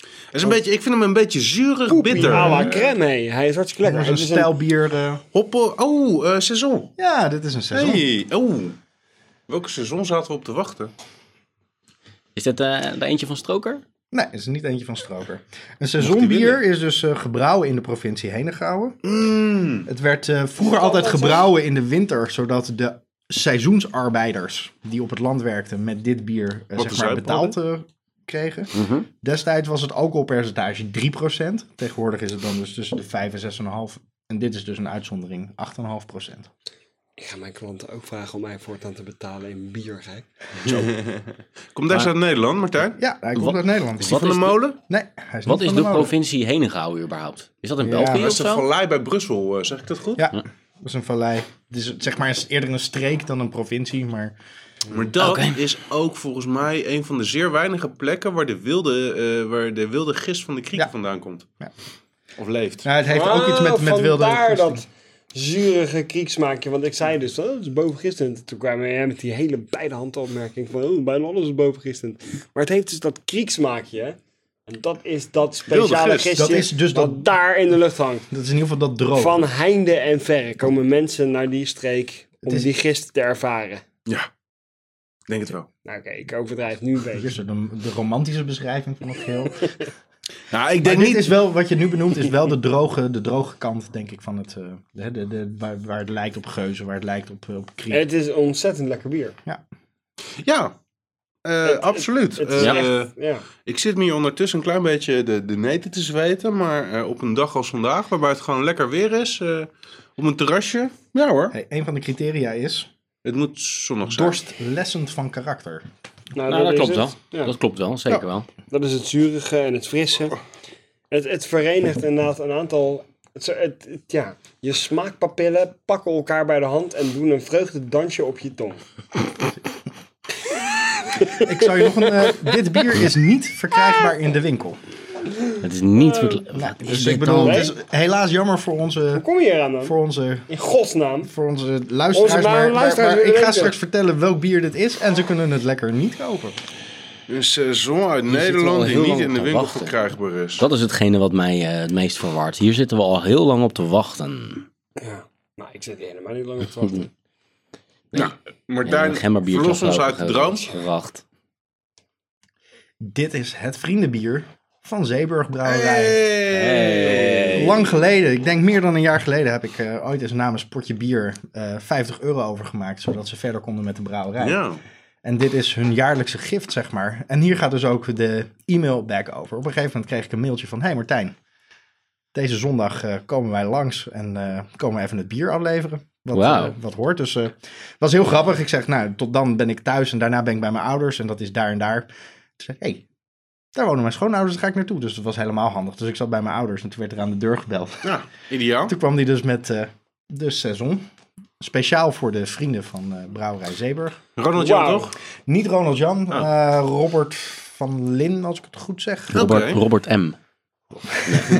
Het is een beetje, ik vind hem een beetje zuurig, bitter.
à la
Eh,
crème, hé. Hij is hartstikke
Dat
lekker.
is een
Het is dus een-
stijlbier. eh,
Hoppel. Oh, eh, seizoen.
ja, dit is een seizoen.
Hey, oh. Welke seizoen zaten we op te wachten?
Is dit eh, de eentje van Stroker?
Nee, het is niet eentje van Stroker. Een
Mocht hij
seizoenbier is dus eh, gebrouwen in de provincie Henegouwen.
Mm.
Het werd eh, vroeger altijd gebrouwen in de winter, zodat de seizoensarbeiders die op het land werkten met dit bier eh,
Wat
zeg
de
maar
zuip
betaald eh, kregen.
Mhm.
Destijds was het alcoholpercentage 3%. Tegenwoordig is het dan dus tussen de 5 en 6,5. En dit is dus een uitzondering, 8,5%.
Ik ga mijn klanten ook vragen om mij voortaan te betalen in bier, gek.
Komt deze uit Nederland, Martijn?
Ja, hij komt
Wat-
uit Nederland.
wat
Van
is
de
de-
molen?
Nee, hij is
Wat
niet
is
van
de
molen.
provincie Henegouwen überhaupt? Is dat in
Ja,
België
dat
of
Dat is de
zo?
vallei bij Brussel, eh, zeg ik dat goed?
Ja, dat is een vallei. Het is zeg maar een- eerder een streek dan een provincie, maar...
Maar dat is ook volgens mij een van de zeer weinige plekken waar de wilde, eh, waar de wilde gist van de krieken
Ja.
vandaan komt.
Ja.
Of leeft.
Nou, het heeft ook iets met, met wilde...
Ah, Vandaar
gisteren.
dat zurige kriegsmaakje. Want ik zei dus, oh, dat is bovengistend. Toen kwam jij met die hele beide handen opmerking van, oh, bijna alles is bovengistend. Maar het heeft dus dat kriegsmaakje. hè. En dat is dat speciale
Wilde gist.
gistje
Dat is dus
wat
dat-
daar in de lucht hangt.
Dat is in ieder geval dat
Oh.
droog.
Van heinde en verre komen mensen naar die streek om
is-
die gist te ervaren.
Ja, ik denk het wel.
Nou oké, ik overdrijf nu een beetje.
Hier is de, de romantische beschrijving van het geheel. Maar
Nou, ik denk
dit
niet...
is wel, wat je nu benoemt, is wel de droge, de droge kant, denk ik, van het... eh, de, de, de- waar, waar het lijkt op geuzen, waar het lijkt op, eh, op kriek.
Het is een ontzettend lekker bier.
Ja, eh, absoluut.
Het is
Eh,
echt, ja.
Ik zit me hier ondertussen een klein beetje de, de neten te zweten. Maar eh, op een dag als vandaag, waarbij het gewoon lekker weer is, eh, op een terrasje. Ja hoor,
Hey, een van de criteria is
het moet zonnig zijn.
dorstlessend van karakter.
Nou, dat
is
klopt wel.
het. Ja.
Dat klopt wel, zeker wel.
Dat is het zurige en het frisse.
Oh.
Het, het verenigt inderdaad een aantal. Het, het- het- ja, je smaakpapillen pakken elkaar bij de hand en doen een vreugdedansje op je tong.
Ik zou je nog een... eh, dit bier is niet verkrijgbaar in de winkel.
Het is niet... verkla-
Nou,
Wat is
dus
dit
ik bedoel,
dan?
het is helaas jammer voor onze,
Hoe kom je hier aan dan?
voor onze,
In godsnaam.
voor onze luisteraars.
Onze
maar,
luisteraars
maar- maar
willen
ik ga
weten.
straks vertellen welk bier dit is en ze kunnen het lekker niet kopen.
Een seizoen uit
zitten we
Nederland
al
die
heel
niet
lang
in de
te
winkel
wachten.
verkrijgbaar is.
Dat is hetgene wat mij eh, het meest verward. Hier zitten we al heel lang op te wachten.
Ja. Nou, ik zit hier helemaal niet lang op te wachten.
Nou,
En
Martijn,
een gemberbier
verlos
toch
ons
ook,
uit de
eh,
droom.
Verwacht.
Dit is het vriendenbier van Zeeburg Brouwerij.
Hey.
Lang geleden, ik denk meer dan een jaar geleden, heb ik eh, ooit eens namens Potje Bier eh, 50 euro overgemaakt, zodat ze verder konden met de brouwerij.
Ja.
En dit is hun jaarlijkse gift, zeg maar. En hier gaat dus ook de e-mail back over. Op een gegeven moment kreeg ik een mailtje van, hey Martijn, deze zondag eh, komen wij langs en eh, komen we even het bier afleveren. Wat,
Wauw.
eh, wat hoort. Dus eh, was heel grappig. Ik zeg, nou, tot dan ben ik thuis en daarna ben ik bij mijn ouders en dat is daar en daar. Toen zei ik, hey, daar wonen mijn schoonouders, daar ga ik naartoe. Dus dat was helemaal handig. Dus ik zat bij mijn ouders en toen werd er aan de deur gebeld.
ja, ideaal.
Toen kwam die dus met eh, de seizoen. Speciaal voor de vrienden van eh, Brouwerij Zeeburg.
Ronald Jan,
Wauw.
toch?
Niet Ronald Jan,
Ah.
eh, Robert van Lin, als ik het goed zeg.
Robert,
Oké.
Robert M.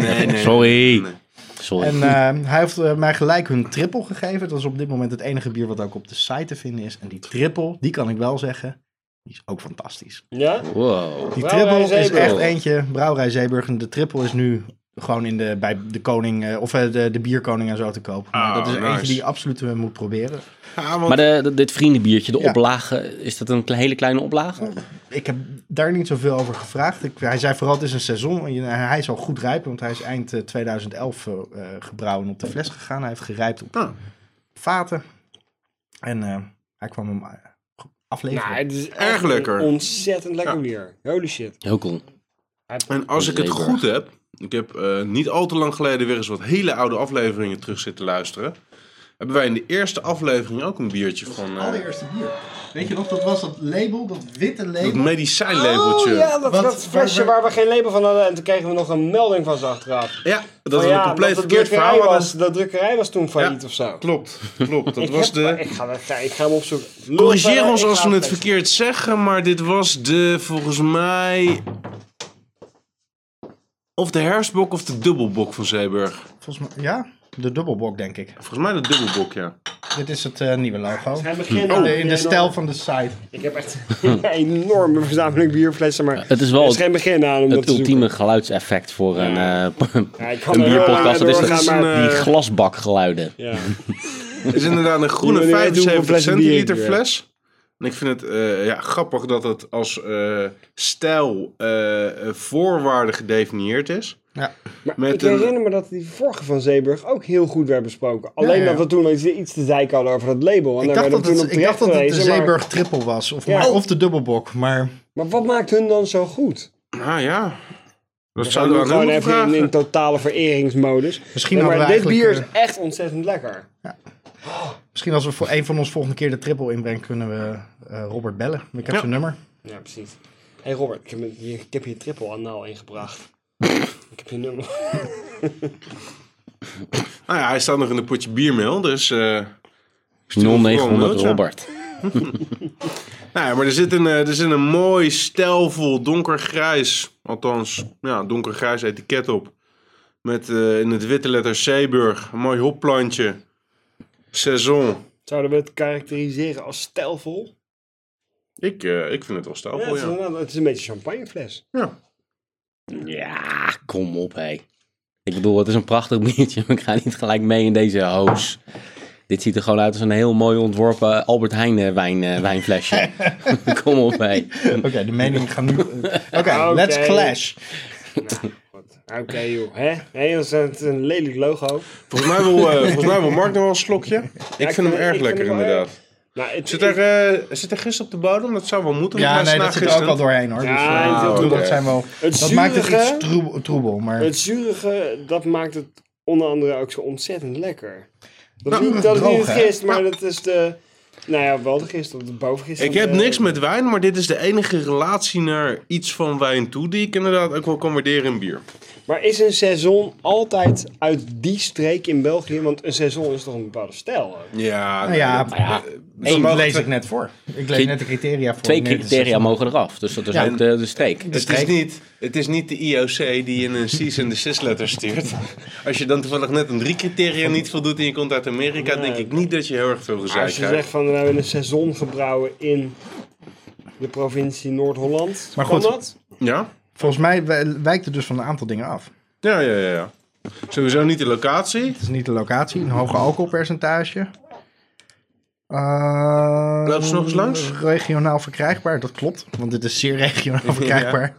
Nee, nee.
Sorry.
Nee.
Sorry.
En eh, hij heeft eh, mij gelijk hun triple gegeven. Dat is op dit moment het enige bier wat ook op de site te vinden is. En die triple, die kan ik wel zeggen, Die is ook fantastisch.
Ja?
Wow.
Die
Brouwerij
triple is
Zeeburg.
echt eentje. Brouwerij Zeeburg. En de triple is nu gewoon in de, bij de koning, eh, of eh, de, de bierkoning en zo te koop. Maar
Oh,
dat is
nice.
eentje die je absoluut eh, moet proberen.
Ja, want
Maar de, de- dit vriendenbiertje, de
Ja.
oplage, is dat een kle- hele kleine oplage?
Ik heb daar niet zoveel over gevraagd. Ik, hij zei vooral, het is een seizoen. En je- Hij is al goed rijpen, want hij is eind eh, 2011 eh, eh, gebrouwen op de
Oh.
fles gegaan. Hij heeft gerijpt op
Ah.
vaten. En eh, hij kwam hem eh, afleveren.
Nou, het is echt
Erg
een
lekker.
Ontzettend lekker
Ja.
bier. Holy shit.
Heel cool.
En als ik het
Zeeburg.
goed heb, ik heb eh, niet al te lang geleden weer eens wat hele oude afleveringen terug zitten luisteren. Hebben wij in de eerste aflevering ook een biertje van eh,
allereerste bier. Weet je nog, dat was dat label, dat witte
dat
label. Oh,
medicijnlabeltje. ja.
Oh, ja, dat,
Wat-
dat flesje
waar-
waar we geen label van hadden en toen kregen we nog een melding van ze achteraf.
dat
Van
is
Oh ja,
een compleet
want de drukkerij
verkeerd verhaal. hadden.
Was, de drukkerij was toen failliet
Ja.
of zo.
Klopt, klopt. Dat
Ik
was
heb-
de...
Ik ga, dat- ga- ik ga hem opzoeken. Lul
Corrigeer
verder,
ons
ik
als
ga
we het
lezen.
verkeerd zeggen, maar dit was de, volgens mij... Of de herfstbok of de dubbelbok van Zeeburg.
Volgens mij, ja, de dubbelbok denk ik.
Volgens mij de dubbelbok, ja.
Dit is het eh, nieuwe logo.
Hij begint
Oh, In
al
de, in de
enorm-
stijl van de site.
Ik heb echt een enorme verzameling bierflessen, maar
Het is wel
er is
het,
geen begin aan om dat
het
te zoeken.
ultieme geluidseffect voor een, eh,
Ja, ik kan
een
er heel lang
bierpodcast. Dat
naar
is
doorgaan,
dat-
maar-
Eh,
die glasbakgeluiden.
Ja.
Het is inderdaad een
Die
groene
wil nu even doen voor
75
flessen bier
centiliter
hier.
fles. En ik vind het eh, ja, grappig dat het als eh, stijl eh, eh, voorwaarde gedefinieerd is.
Ja.
Maar
Met
ik
een-
herinner me dat die vorige van Zeeburg ook heel goed werd besproken. Alleen
ja.
dat we toen iets, iets te zeiken hadden over dat label. En
Ik
daar werden
dacht,
we
dat
toen
het,
op
ik dacht dat het de
terechtgewezen, maar-
Zeeburg triple was. Of,
Ja.
maar, of de dubbelbok. Maar
Maar wat maakt hun dan zo goed?
Nou ja, dat
We
zouden we
gaan
aan
nu
hem
gewoon even
moeten
in,
vragen.
in totale vereringsmodus.
Misschien
Nee, maar
hadden we
dit bier is
eigenlijk, eh,
echt ontzettend lekker.
misschien als we voor een van ons volgende keer de triple inbrengen, kunnen we eh, Robert bellen. Ik heb
Ja.
zijn nummer.
Ja, precies. Hé hey Robert, ik heb hier, ik heb hier triple anaal ingebracht. ik heb je nummer.
Nou ja, hij staat nog in een potje biermeel, dus... eh, stuur hem vooral
0900
een mailtje.
Robert.
Nou ja, maar er zit een, eh, er zit een mooi stijlvol donkergrijs, althans ja, donkergrijs etiket op. Met eh, in het witte letter Zeeburg, een mooi hopplantje. Saison.
Zouden we het karakteriseren als stijlvol?
Ik, eh, ik vind het wel
Ja,
stijlvol,
het, is,
ja.
inderdaad- het is een beetje champagnefles.
ja.
Ja, kom op hé. Ik bedoel, het is een prachtig biertje. maar Ik ga niet gelijk mee in deze hoos. Dit ziet er gewoon uit als een heel mooi ontworpen Albert Heijn eh, wijn, eh, wijnflesje. kom op hé.
Oké, de meningen gaan nu. Oké, let's
Oké.
clash.
Goed. Oké joh, hè? Hé, dat is een, het is een lelijk logo.
Volgens mij, wil, eh, volgens mij wil Mark nog wel een slokje. ik vind hem
ik
erg
vind
lekker,
hem wel
inderdaad.
Nou, het,
Zit er, eh, zit er gisteren op de bodem? Dat zou wel moeten. want
Ja,
hij is
nee,
na
dat zit er ook
gisteren.
al doorheen hoor. dus,
Ja,
eh,
het is
ik bedoel,
ook-
dat zijn wel,
het
dat maakt het
zurige-
iets troebel, troebel, maar
het zurige, dat maakt het onder andere ook zo ontzettend lekker. Dat,
Nou,
is niet,
het
dat is niet
droog,
het
hè?
gist, maar dat is de... Nou ja, wel de gist, of de bovengist.
Ik heb niks met wijn, maar dit is de enige relatie naar iets van wijn toe die ik inderdaad ook wel kan waarderen in bier.
Maar is een seizoen altijd uit die streek in België? Want een seizoen is toch een bepaalde stijl? ook?
Ja, eh,
nou ja,
ja,
één
mogen
lees
twee-
ik net voor. Ik lees net de criteria voor.
Oh,
Twee
wanneer het
criteria
seizoen-
mogen eraf. Dus dat is
Ja.
ook de, de streek.
de
Het is,
streek.
niet, het is niet de IOC die in een C's en de cis letter stuurt. Als je dan toevallig net een drie criteria niet voldoet en je komt uit Amerika, denk ik niet dat je heel erg veel gezeik
Als je
krijgt.
zegt van we hebben een seizoen gebrouwen in de provincie Noord-Holland.
Maar
kan
goed.
dat?
Ja?
Volgens mij wij- wijkt het dus van een aantal dingen af.
Ja, ja, ja, ja. Sowieso niet de locatie.
Het is niet de locatie, een hoge alcoholpercentage. Eh,
Loop ze nog eens langs?
Regionaal verkrijgbaar, dat klopt, want dit is zeer regionaal verkrijgbaar.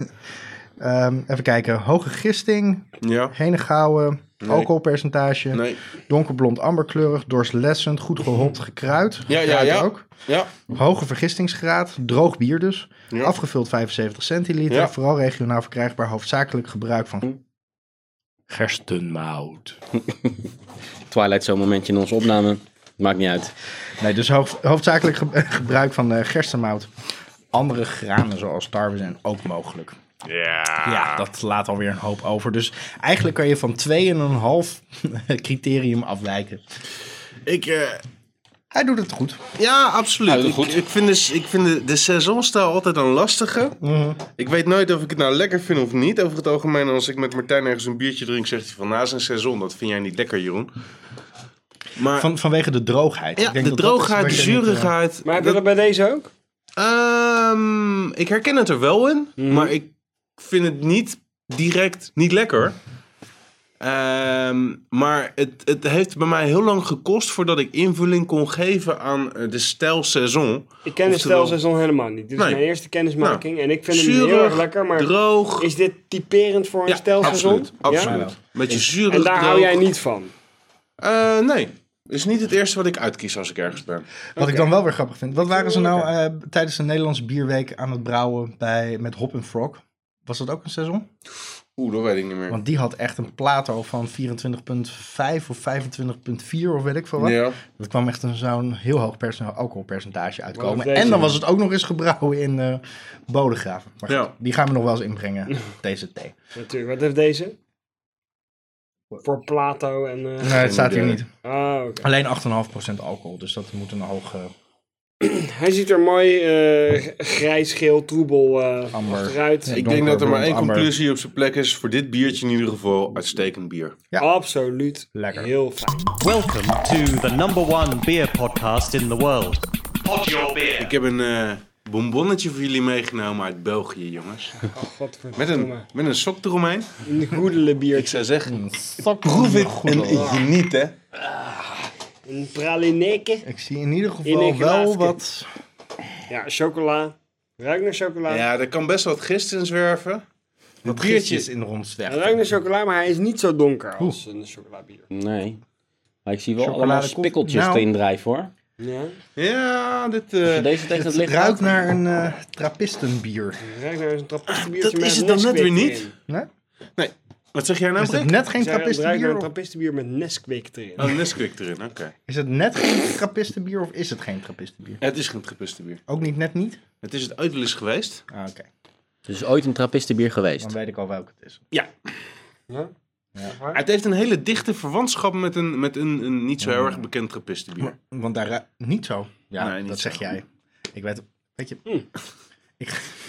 Ehm, even kijken, hoge gisting,
Ja.
henegouwen, alcoholpercentage,
Nee.
donkerblond amberkleurig, doorslessend, goed gehopt, gekruid.
Ja, ja,
Gekruid
ja.
Ook.
Ja.
Hoge vergistingsgraad, droog bier dus,
Ja.
afgevuld 75 centiliter,
Ja.
vooral regionaal verkrijgbaar, hoofdzakelijk gebruik van gerstenmout.
Twilight zo'n momentje in onze opname. Maakt niet uit.
Nee, dus hoofd- hoofdzakelijk ge- gebruik van eh, gerstenmout. Andere granen zoals tarwe zijn ook mogelijk.
Ja.
Ja, dat laat alweer een hoop over. Dus eigenlijk kan je van 2,5 criterium afwijken.
Ik, eh,
Hij doet het goed.
ja, absoluut.
Ja,
ik,
goed.
ik vind, dus, ik vind de, de saisonstijl altijd een lastige.
Mhm.
Ik weet nooit of ik het nou lekker vind of niet. Over het algemeen, als ik met Martijn ergens een biertje drink, zegt hij van "Nou, na zijn seizoen, dat vind jij niet lekker, Jeroen. Maar
Van, vanwege de droogheid.
ja,
Ik denk
de
dat dat is
droogheid,
wat
de
je niet, eh,
zurigheid.
Maar heb je dat Mhm.
dat-
bij deze ook?
Ehm, ik herken het er wel in, maar ik vind het niet direct niet lekker. Ehm, maar het, het heeft bij mij heel lang gekost voordat ik invulling kon geven aan eh, de stijl saison.
Ik ken de
Oftewel-
stelsel helemaal niet. Dit is
Nee. Nou,
mijn eerste kennismaking en ik vind hem heel erg
Zuurig,
lekker. Maar
droog.
is dit typerend voor een
ja,
stelseizoen?
absoluut. absoluut.
Ja?
Beetje
Ja?
zuurig,
En daar hou
droog.
jij niet van.
Eh, nee, is niet het eerste wat ik uitkies als ik ergens ben.
Wat ik dan wel weer grappig vind. Wat waren ze nou eh, tijdens de Nederlandse bierweek aan het brouwen bij, met Hop en Frog? Was dat ook een seizoen?
Oeh, dat weet ik niet meer.
Want die had echt een plato van 24,5 of 25,4 of weet ik veel wat.
Ja.
Dat kwam echt een, zo'n heel hoog percent- alcoholpercentage
Maar
uitkomen.
dat weet
En dan
je.
was het ook nog eens gebrouwen in eh Bodegraven. Maar goed,
Ja.
die gaan we nog wel eens inbrengen, deze thee.
Natuurlijk, wat heeft deze? Voor Plato en... eh,
Nee, het staat hier niet.
Ah, oké.
Alleen 8,5% alcohol, dus dat moet een hoog... eh,
Hij ziet er mooi eh, grijs, geel, troebel eh
Amber.
achteruit.
Ja.
Ik
Donker,
denk dat er maar
blond,
één
amber.
conclusie op zijn plek is. Voor dit biertje in ieder geval uitstekend bier.
Ja.
Absoluut.
Lekker.
Heel fijn.
Welcome to the number one beer podcast in the world. Pod Your Beer.
Ik heb een eh, bonbonnetje voor jullie meegenomen uit België, jongens.
Oh,
Met een,
godverdomme.
met een sok eromheen.
Een goedele
Ik
biertje.
zou zeggen, proef het en geniet, hè.
Een pralineke.
Ik zie in ieder
In
geval
een
wel
glaasje.
wat...
Ja, chocola. Ruikt naar chocola.
Ja, er kan best wat gist in zwerven.
wat
biertje.
gistjes in
Hij ruikt naar
rondzweg.
chocola, maar hij is niet zo donker als een chocolabier.
Nee. Maar ik zie wel
Chocolade
allemaal
koek.
spikkeltjes
Nou.
erin drijven hoor.
Ja,
Ja, dit... eh,
Als je deze tegen het
Het
licht
ruikt
houdt-
naar een eh, trappistenbier.
het ruikt naar een trappistenbiertje
Dat
met
is het dan net
Nesquik
weer niet.
erin.
Nee?
Nee, wat zeg jij nou,
Is het
Brik?
net geen
Ik zei, Het ruikt naar
trappistenbier?
een
of-
trappistenbier met Nesquik erin.
Oh, Nesquik erin, oké.
Is het net geen trappistenbier of is het geen trappistenbier?
Het is geen trappistenbier.
Ook niet net niet?
Het is het ooit wel eens geweest.
Ah, oké.
Er is ooit een trappistenbier geweest.
Dan weet ik al welke het is.
Ja.
Ja?
Het heeft een hele dichte verwantschap met een, met een, een niet zo heel erg bekend trappistenbier.
Want daar... ru- Niet zo. Ja,
Nee, niet
dat
zo.
zeg jij. Ik weet... Weet je...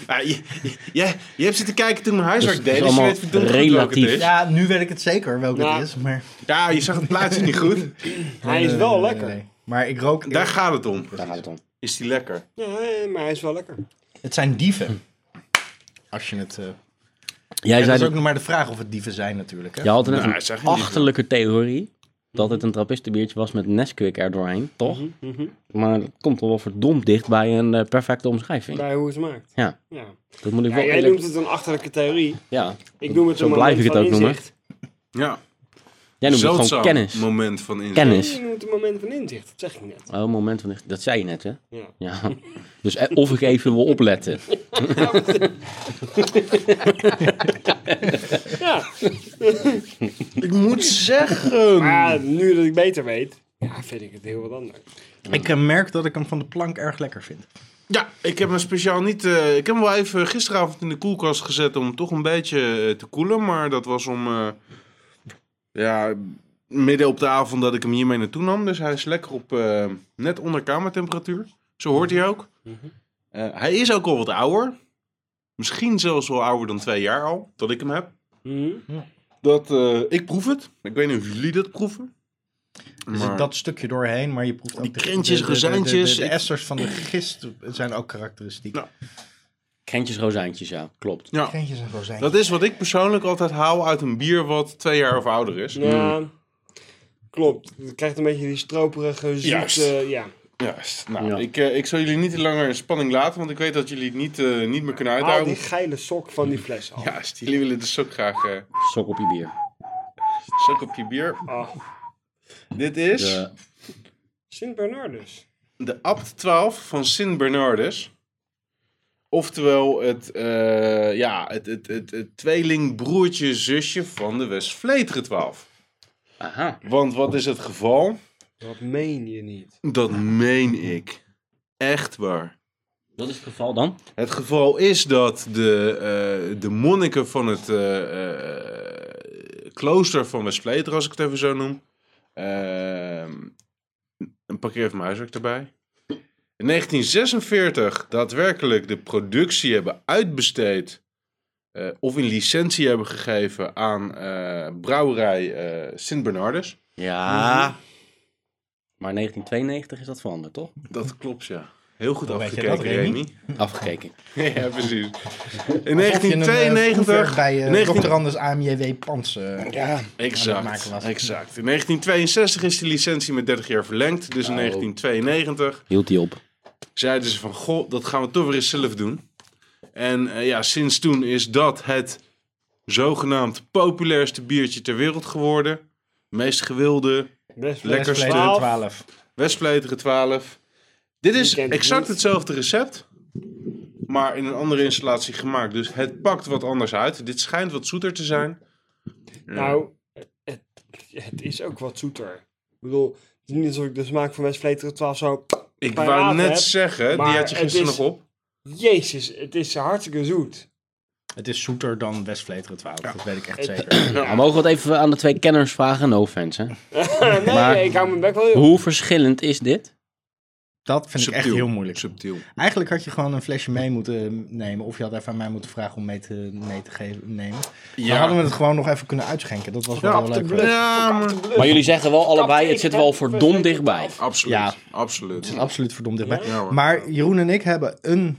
Ja, je, je, jij- je hebt zitten kijken toen mijn huiswerk
Dus het
deed,
is
dus je
allemaal
weet verdomd goed welke
relatief.
het is.
Ja, nu weet ik het zeker welke
Ja.
het is, maar...
Ja, je zag het plaatje niet goed.
Hij is
Nee,
wel
nee, nee,
lekker.
nee. Maar ik rook...
Daar gaat het om.
Daar gaat het om.
Is die lekker?
Ja, maar hij is wel lekker.
Het zijn dieven. Als je het... eh
Jij
Het
zei
is
dat,
ook nog maar de vraag of het dieven zijn natuurlijk. Hè?
je had net
Nou,
een
hij zegt niet
achterlijke theorie. Dat het een trappistenbiertje was met Nesquik er doorheen, toch? Maar dat komt toch wel verdomd dicht bij een eh, perfecte omschrijving.
Bij hoe het smaakt.
Ja,
Ja.
dat moet ik
Ja,
wel
jij
eerlijk-
noemt het een achterlijke theorie.
Ja,
Ik noem het
zo
een
blijf ik
moment
het ook
van
noemen.
inzicht.
Ja,
Jij noemt het
Zeldzaam
gewoon kennis.
moment van inzicht.
Kennis.
Ik noem het een moment van inzicht. Dat zeg ik net.
Oh, moment van... Dat zei je net, hè?
Ja.
Ja. Dus eh, of ik even wil opletten.
ja.
Ik moet zeggen.
Maar nu dat ik beter weet, ja, vind ik het heel wat anders.
Ik eh, merk dat ik hem van de plank erg lekker vind.
Ja, ik heb hem speciaal niet. eh, ik heb hem wel even gisteravond in de koelkast gezet om toch een beetje eh, te koelen. Maar dat was om. eh, ja, midden op de avond dat ik hem hiermee naartoe nam. Dus hij is lekker op eh, net onder kamertemperatuur. Zo hoort hij ook. Eh, hij is ook al wat ouder. Misschien zelfs wel ouder dan twee jaar al dat ik hem heb.
Hm.
Mhm.
Dat, eh, ik proef het. Ik weet niet of jullie dat proeven.
Er zit
Maar-
dat stukje doorheen, maar je proeft ook...
Die
de-
krentjes,
de- de- de- de-
rozijntjes.
De, de esters van de gist zijn ook karakteristiek.
Nou.
Krentjes, rozijntjes, ja. Klopt.
Ja.
Krentjes en rozijntjes.
Dat is wat ik persoonlijk altijd haal uit een bier wat twee jaar of ouder is.
Ja, klopt. Het krijgt een beetje die stroperige,
Juist.
zoete... Ja.
Juist. Nou,
Ja.
ik, eh, ik zal jullie niet langer in spanning laten, want ik weet dat jullie het niet, eh, niet meer kunnen
Haal
uithouden.
die geile sok van die fles af.
Juist, jullie willen dus ook graag eh
Sok op je bier.
sok op je bier.
Ah,
Dit is
De-
de,
Sint Bernardus.
Abt 12 van Sint Bernardus. Oftewel het, eh, ja, het, het, het, het tweelingbroertje zusje van de West Vleteren 12.
Aha.
Want wat is het geval?
Dat meen je niet.
Dat meen ik. Echt waar.
Dat is het geval dan?
Het geval is dat de, eh, de monniken van het eh, eh, klooster van Westfleter, als ik het even zo noem. ehm, een parkeer even mijn huiswerk erbij. In 1946 daadwerkelijk de productie hebben uitbesteed. eh, of in licentie hebben gegeven aan eh, brouwerij eh Sint Bernardus.
Ja. Maar 1992 is dat veranderd, toch?
Dat klopt, ja. Heel goed
Hoe weet je
afgekeken,
dat, Remy?
Remy.
Afgekeken.
ja, precies. In
Alsof je een, eh, proefwerk
1992...
bij eh
19
Dr. Anders AMJW Pans. eh,
Ja,
dat
Exact,
maken was.
exact. In 1962 is die licentie met 30 jaar verlengd. Dus
Oh.
in 1992
Hield die op.
zeiden ze van... Goh, dat gaan we toch weer eens zelf doen. En eh, ja, sinds toen is dat het zogenaamd populairste biertje ter wereld geworden. Meest gewilde,
best
Lekker
Best
stuk.
Player 12.
Westpletige 12. Dit is
Die ken ik
exact
niet.
hetzelfde recept, maar in een andere installatie gemaakt. Dus het pakt wat anders uit. Dit schijnt wat zoeter te zijn.
Nou, het, het is ook wat zoeter. Ik bedoel, het is niet alsof ik de smaak van Westvleteren 12 zo...
Ik
bij
wou
water
net
heb,
zeggen, die
maar
had je
het
gisteren
is-
nog op.
Jezus, het is hartstikke zoet.
Het is zoeter dan West Vleteren 12, dat weet ik echt
Het-
zeker.
Nou, mogen we het even aan de twee kenners vragen? No offense, hè?
Eh, nee,
Maar-
nee, ik hou mijn bek wel heel...
Hoe verschillend is dit?
Dat vind ik echt heel moeilijk.
Subtiel.
Eigenlijk had je gewoon een flesje mee moeten nemen. Of je had even aan mij moeten vragen om mee te, mee te geven, nemen. Dan hadden we het gewoon nog even kunnen uitschenken. Dat was wel
Ja,
heel
op
leuk. geweest.
Ja, maar...
Maar jullie zeggen wel allebei, het zit wel verdomd dichtbij.
Absoluut,
Ja.
absoluut.
Het is absoluut verdomd dichtbij.
Ja, hoor.
maar Jeroen en ik hebben een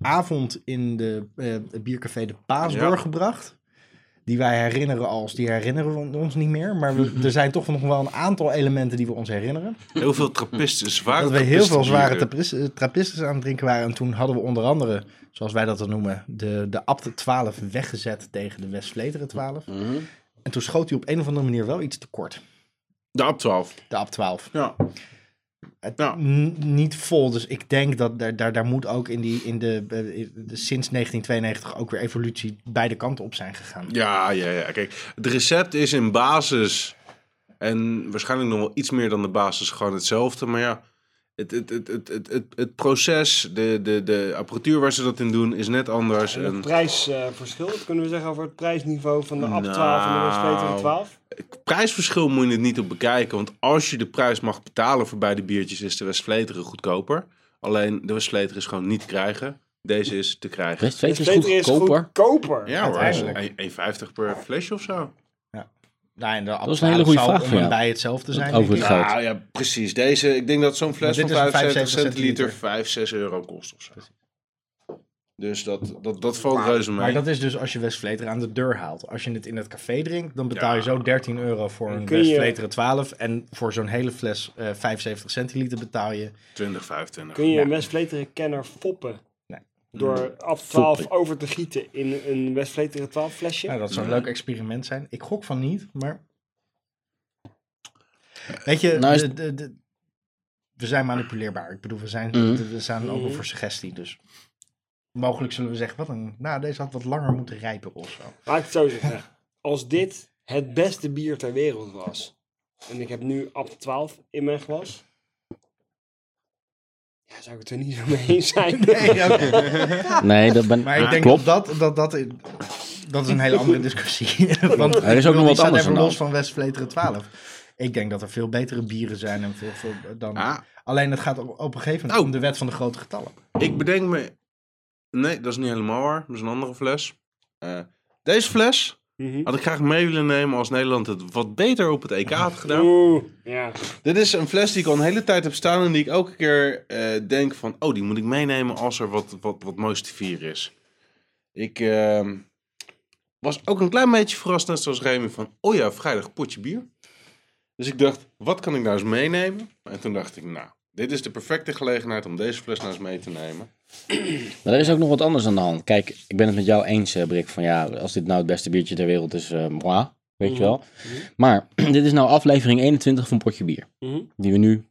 avond in de eh, het biercafé De Paas
Ja.
doorgebracht. Die wij herinneren als, die herinneren we ons niet meer. Maar we- er zijn toch nog wel een aantal elementen die we ons herinneren.
Heel veel trappisten, zware
Dat we heel veel zware
trappisten
trappist- eh, trappisten aan het drinken waren. En toen hadden we onder andere, zoals wij dat dan noemen, de, de Abte 12 weggezet tegen de West-Vleteren 12.
Mhm.
En toen schoot hij op een of andere manier wel iets tekort.
bieren. De AP12.
De Abt 12.
Ja.
Het-
Ja.
n- niet vol. Dus ik denk dat daar, daar, daar moet ook in, die, in de, eh, in de- sinds 1992 ook weer evolutie beide kanten op zijn gegaan.
Ja, ja, ja. Kijk, het recept is in basis en waarschijnlijk nog wel iets meer dan de basis gewoon hetzelfde. Maar ja, het, het, het, het, het, het, het proces, de, de, de apparatuur waar ze dat in doen, is net anders.
En het
En
prijsverschil, wat kunnen we zeggen over het prijsniveau van de
Nou.
AP12 en de
Nou.
Westvleteren 12?
het prijsverschil moet je het niet op bekijken. Want als je de prijs mag betalen voor beide biertjes, is de Westfleteren goedkoper. Alleen de Westfleteren is gewoon niet te krijgen. Deze is te krijgen.
Westvleteren is goedkoper.
goedkoper.
Ja hoor,
Uiteindelijk.
1,50 per flesje of zo.
Nou, en de Abt
is een hele
12
goede
zal
vraag
om
van
en
jou.
bij hetzelfde zijn.
Over
denk
het
ik.
geld.
Nou ja, precies. Deze, ik denk dat zo'n fles
Want
van
dit is een
75
75
centiliter 5, 6 euro kost of zo. Dus dat, dat, dat valt reuze mee.
Maar dat is dus als je Westvleter aan de deur haalt. Als je het in het café drinkt, dan betaal je
Ja.
zo 13 euro voor een
kun je-
Westvleter 12. En voor zo'n hele fles eh 75 centiliter betaal je.
20, 25.
Kun je een Westvleteren kenner foppen?
Nee.
Door AP12
Mm. Foppen.
over te gieten in een Westvleteren 12 flesje?
Nou, dat zou een leuk experiment zijn. Ik gok van niet, maar. Weet je,
Nou is-
de, de, de- we zijn manipuleerbaar. Ik bedoel, we zijn,
Mhm.
we zijn open voor suggestie. Dus mogelijk zullen we zeggen: wat een. Nou, deze had wat langer moeten rijpen of zo.
Laat ik het zo zeggen. Als dit het beste bier ter wereld was. En ik heb nu AP12 in mijn glas. Ja, zou ik het er niet zo mee eens zijn.
Nee, dat ben,
Maar ik
dat
denk
klopt.
dat dat, dat, dat, dat is een hele andere discussie. Want
Er is ook nog wat
staat
anders
even
aan de
los
hand.
van West Vleteren 12. Ik denk dat er veel betere bieren zijn en veel, veel dan.
Ah,
Alleen het gaat op op een gegeven
Oh.
moment om de wet van de grote getallen.
ik bedenk me... Nee, dat is niet helemaal waar. Dat is een andere fles. Eh, deze fles
Mhm.
had ik graag mee willen nemen als Nederland het wat beter op het EK had gedaan.
Oeh, ja.
Dit is een fles die ik al een hele tijd heb staan en die ik elke keer eh, denk van, oh, die moet ik meenemen als er wat, wat, wat moois te vieren is. Ik ehm, was ook een klein beetje verrast, net zoals Remy, van, oh ja, vrijdag potje bier. Dus ik dacht, wat kan ik nou eens meenemen? En toen dacht ik, nou, dit is de perfecte gelegenheid om deze fles nou eens mee te nemen.
Maar er is ook nog wat anders aan de hand. Kijk, ik ben het met jou eens, eh, Brik. Van ja, als dit nou het beste biertje ter wereld is, eh moi, weet
Mhm.
je wel. Maar dit is nou aflevering 21 van Potje Bier.
Mhm.
Die we nu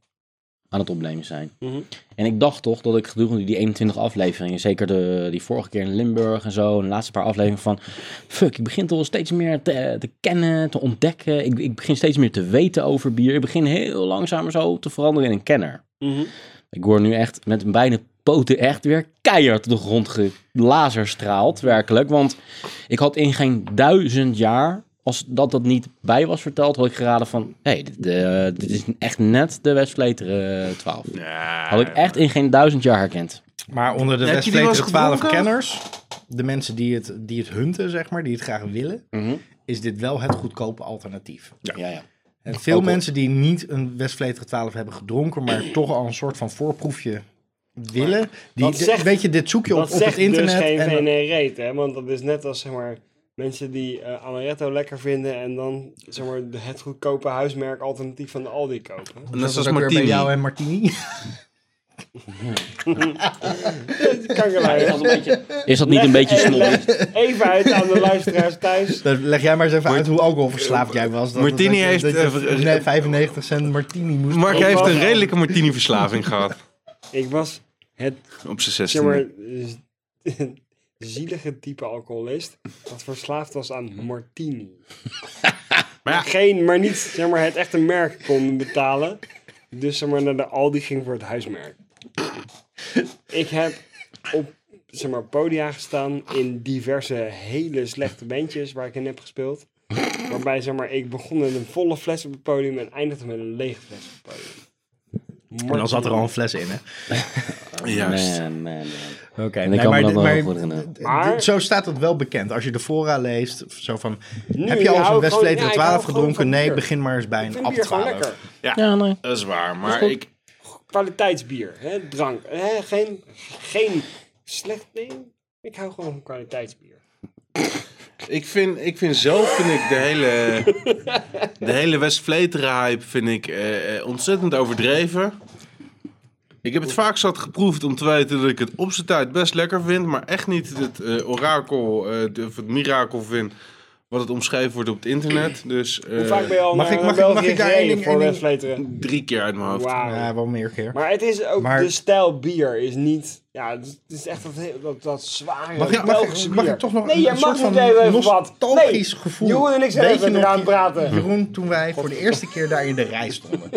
aan het opnemen zijn.
Mhm.
En ik dacht toch dat ik gedurende die 21 afleveringen, zeker de, die vorige keer in Limburg en zo, en de laatste paar afleveringen van, fuck, ik begin toch wel steeds meer te, te kennen, te ontdekken. Ik, ik begin steeds meer te weten over bier. Ik begin heel langzaam zo te veranderen in een kenner.
Mhm.
Ik word nu echt met beide poten echt weer keihard op de grond gelazerstraald, werkelijk. Want ik had in geen duizend jaar, als dat dat niet bij was verteld, had ik geraden van... Hé, hey, dit, eh, dit is echt net de Westvleteren 12. Had ik echt in geen duizend jaar herkend.
Maar onder de
Heb je
West
die wel eens
Vleteren 12
gedronken?
kenners, de mensen die het, die het hunten, zeg maar, die het graag willen,
Mhm.
is dit wel het goedkope alternatief.
Ja, ja.
En veel mensen die niet een West Vleteren 12 hebben gedronken, maar toch al een soort van voorproefje willen. Die,
dat zegt-
weet je, dit zoek je op,
dat
op
zegt
het internet.
dus geen
en-
VNE reet, hè? Want dat is net als, zeg maar, mensen die eh, amaretto lekker vinden en dan, zeg maar, de- het goedkope huismerk alternatief van de Aldi kopen.
En dat is
was
als
ook weer bij jou
Martini.
en Martini.
Kankerlijn, hè?
Is dat niet een beetje snobbish?
Even uit aan de luisteraars thuis.
Dan leg jij maar eens even uit hoe alcoholverslaafd jij was. Dat,
Martini
dat je-
heeft,
dat je
eh,
nee, 95 cent Martini moest.
Mark
Ik
heeft
was-
een redelijke Martini-verslaving gehad.
Ik was het,
Op zijn
zeg
16.
maar, z- zielige type alcoholist dat verslaafd was aan
Mhm.
martini.
Maar ja,
Geen, maar niet, zeg maar, het echte merk kon betalen. Dus zeg maar, naar de Aldi ging voor het huismerk. Ik heb op, zeg maar, podia gestaan in diverse hele slechte bandjes waar ik in heb gespeeld. Waarbij, zeg maar, ik begon met een volle fles op het podium en eindigde met een lege fles op het podium.
En dan zat er al een fles in, hè?
juist.
Man, man, man.
Oké,
En ik kan me dat wel heel goed herinneren.
Maar-
dit- zo staat het wel bekend. Als je de fora leest, zo van...
Nu,
heb je
ik
al eens een
hou gewoon-
Westfleteren
ja, ik
12
hou gewoon
gedronken?
van
Nee,
bier.
begin maar eens bij een
Ik vind
app
bier gewoon
12.
lekker.
Ja, nee.
Dat is waar, maar ik...
Kwaliteitsbier, hè? drank. Hè? Geen, geen slecht ding. Ik hou gewoon van kwaliteitsbier.
Ik vind, ik vind zelf vind ik de hele, de hele West-Vleteren hype vind ik, eh, eh, ontzettend overdreven. Ik heb het vaak zat geproefd om te weten dat ik het op zijn tijd best lekker vind. Maar echt niet het eh, orakel eh, de- of het mirakel vind wat het omschreven wordt op het internet. Dus eh,
Hoe vaak ben je al
mag
naar
ik- mag ik-
België
mag ik daar
gereden
één ding-
voor
één ding-
Westfleteren?
drie keer uit mijn hoofd.
Wauw.
Ja, wel meer keer.
Maar het is ook,
Maar-
de stijl bier is niet, ja, het is- het is echt dat, heel- dat, dat zware
Mag ik- mag ik-
Belgische
mag ik
bier.
toch nog
nee,
een
je
soort
mag
van
niet even even wat. Nee,
nostalgisch gevoel?
Jeroen en ik zijn
Weet
even
je nog-
eraan het praten.
Jeroen, toen wij voor de eerste keer daar in de rij stonden.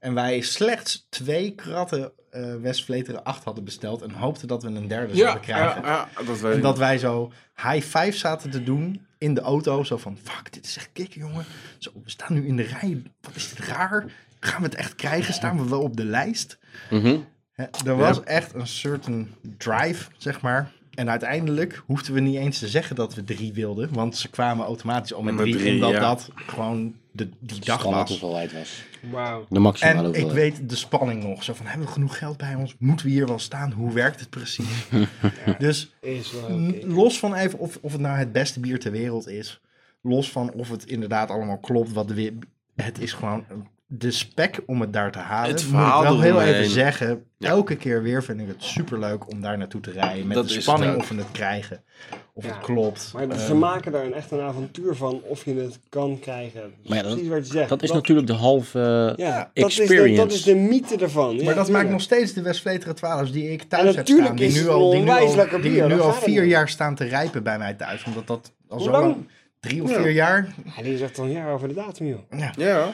En wij slechts twee kratten eh Westvleteren 8 hadden besteld. En hoopten dat we een derde
Ja,
zouden
ja,
krijgen.
ja, dat weet
En
ik.
dat wij zo high five zaten te doen in de auto. Zo van, fuck, dit is echt kick, jongen. Zo, we staan nu in de rij. Wat is dit raar? Gaan we het echt krijgen? Staan we wel op de lijst?
Mhm.
Hè, er was echt een certain drive, zeg maar. En uiteindelijk hoefden we niet eens te zeggen dat we drie wilden. Want ze kwamen automatisch al met
Met
drie.
drie,
omdat
ja.
dat gewoon de, die dag
Standaard
was.
hoeveelheid was.
Wauw.
De maximale
En ik
hoeveelheid.
weet de spanning nog. Zo van, hebben we genoeg geld bij ons? Moeten we hier wel staan? Hoe werkt het precies? Dus
Is wel
N-
oké.
Los van even of, of het nou het beste bier ter wereld is. Los van of het inderdaad allemaal klopt. Wat de, wi- het is gewoon de spek om het daar te halen.
Het
Moet
verhaal
ik wel heel
eromheen.
even zeggen. Elke keer weer vind ik het superleuk om daar naartoe te rijden. Met
Dat is
de
het
spanning
ook.
of we het krijgen. Of
Ja,
het klopt. Eh,
Maar ze maken daar een, echt een avontuur van of je het kan krijgen.
Maar ja, dat-
Precies wat je zegt.
Dat is natuurlijk de halve
ja, dat is, de,
experience.
dat is de mythe ervan. Ja,
Maar dat maakt
tuurlijk.
nog steeds de Westvleteren 12's die ik
En
thuis heb
natuurlijk
staan. Die
is het
nu
een
al, die nu
onwijs
al,
lekker
die
bier,
nu
daar
al
gaat het
vier
om.
jaar staan te rijpen bij mij thuis. Omdat dat al
Hoe
zo
lang?
lang... Drie of
Ja.
vier jaar.
Ja, die zegt dan ja over de datum, joh.
Ja.
Ja,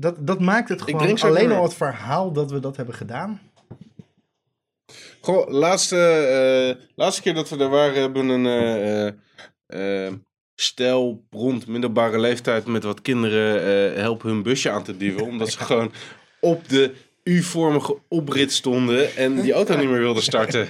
Dat, dat maakt het gewoon
drink zo
alleen
door.
al het verhaal dat we dat hebben gedaan.
Goh, laatste, eh, laatste keer dat we er waren, hebben we een eh, eh, eh, stel rond middelbare leeftijd met wat kinderen eh, helpen hun busje aan te duwen. Omdat ze gewoon op de U-vormige oprit stonden en die auto niet meer wilden starten.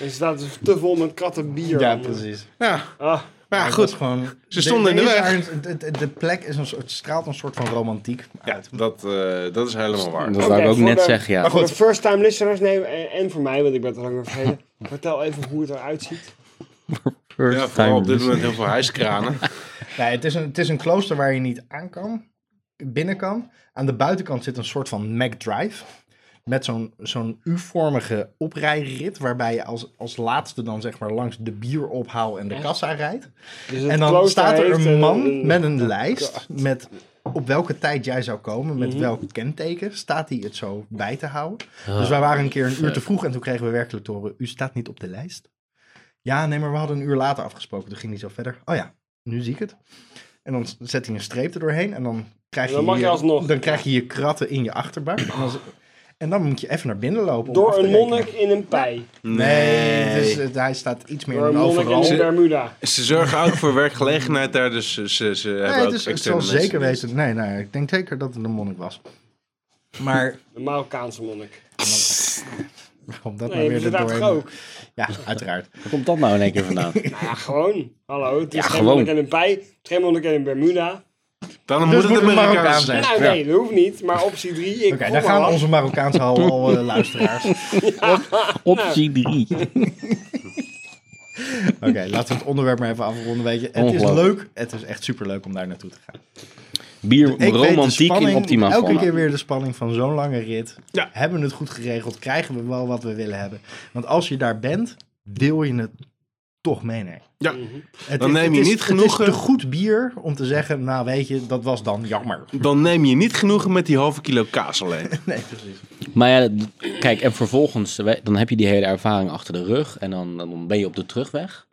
En ze staat dus te vol met katten bier. om-
Ja,
Ah,
maar ja,
het
goed.
was Gewoon,
Ze stonden in de
is
weg.
daar een- het- het- de plek is een soort, het straalt een soort van romantiek
Ja,
uit.
dat, eh, dat is helemaal waar.
Dat
Oké,
wou ik ook
voor
net
de-
zeggen, ja.
Maar goed, voor de first-time listeners nee, en, en voor mij, want ik ben het al langer vergeten. vertel even hoe het eruit ziet.
First
Ja, vooral op
time.
dit moment heel veel hijskranen.
Nee, het, is een, het is een klooster waar je niet aan kan, binnen kan. Aan de buitenkant zit een soort van Mac Drive. Met zo'n zo'n U-vormige oprijrit, waarbij je als, als laatste dan zeg maar langs de bierophaal en de kassa rijdt.
Dus het
En dan
klooster
staat er
heeft eh,
een man
een-
met een lijst met op welke tijd jij zou komen,
Mhm.
met welk kenteken, staat hij het zo bij te houden. dus wij waren een keer een uur te vroeg en toen kregen we werkelijk te horen, u staat niet op de lijst. Ja, nee, maar we hadden een uur later afgesproken, toen ging hij zo verder. Oh ja, nu zie ik het. En dan s- zet hij een streep er doorheen en dan krijg je
Dan mag je alsnog.
dan krijg je, je kratten in je achterbak. En dan, z- en dan moet je even naar binnen lopen. om af
Door
te
een
rekenen.
monnik in een pij.
Nee, het is- het- hij staat iets meer
Door
in
een
een
monnik
overal.
in een Bermuda.
Ze zorgen ook voor werkgelegenheid daar, dus ze, ze, ze hebben
Nee,
ook
het, is, het
externe
zal
mensen
zeker
die-
weten. Nee, nee, ik denk zeker dat het een monnik was. Maar
Een Marokkaanse monnik.
om dat
Nee,
maar
maar
weer
ze
er
daar toch
doorheen.
ook?
Ja, uiteraard.
Waar komt dat nou in één keer vandaan?
Nou ja, gewoon. Hallo, het is
Ja,
geen
gewoon.
monnik in een pij. Het is geen monnik in een Bermuda.
Dan
Dus
moet het
moet het
Amerikaans
Marokkaan zijn.
Nou, nee, dat hoeft niet. Maar optie 3, ik
Oké,
voel
daar
me
gaan
wat.
onze Marokkaanse hal al eh, luisteraars. Oké,
Optie 3.
laten we het onderwerp maar even afronden. Weet je. Het is
Ongelooflijk.
leuk. Het is echt superleuk om daar naartoe te gaan.
Bier,
Ik weet de
romantiek in
spanning,
optima
Elke
forma.
keer weer de spanning van zo'n lange rit. Hebben we het goed geregeld? Krijgen we wel wat we willen hebben? Want als je daar bent, wil je het toch meenemen.
Ja.
Het
Dan neem je niet
Het is
genoegen.
te goed bier om te zeggen, nou weet je, dat was dan jammer.
Dan neem je niet genoegen met die halve kilo kaas alleen.
Nee, precies.
Maar ja, d- kijk, en vervolgens, eh, wij- dan heb je die hele ervaring achter de rug en dan, dan ben je op de terugweg.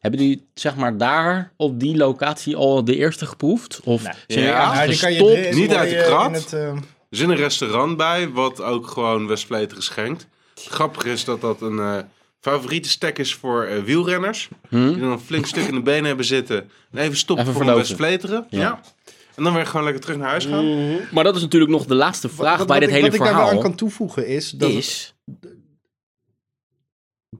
Hebben jullie, zeg maar, daar op die locatie al de eerste geproefd? Of
Nee.
zijn jullie
Ja,
ergens
nou,
die kan je
gestopt?
drinken,
niet
hoor
uit de
je in
krat.
het, eh,
Er zit een restaurant bij, wat ook gewoon Westpleter schenkt. Grappig is dat dat een eh, favoriete stek is voor eh, wielrenners.
Hm?
Die dan een flink stuk in de benen hebben zitten. En even stoppen
Even
voor een
verlozen.
Westpleteren. Ja. En dan weer gewoon lekker terug naar huis gaan.
Mm.
Maar dat is natuurlijk nog de laatste vraag
wat-
bij
wat
dit
ik-
hele
Wat ik daar wel aan
verhaal.
kan toevoegen is dat,
Is,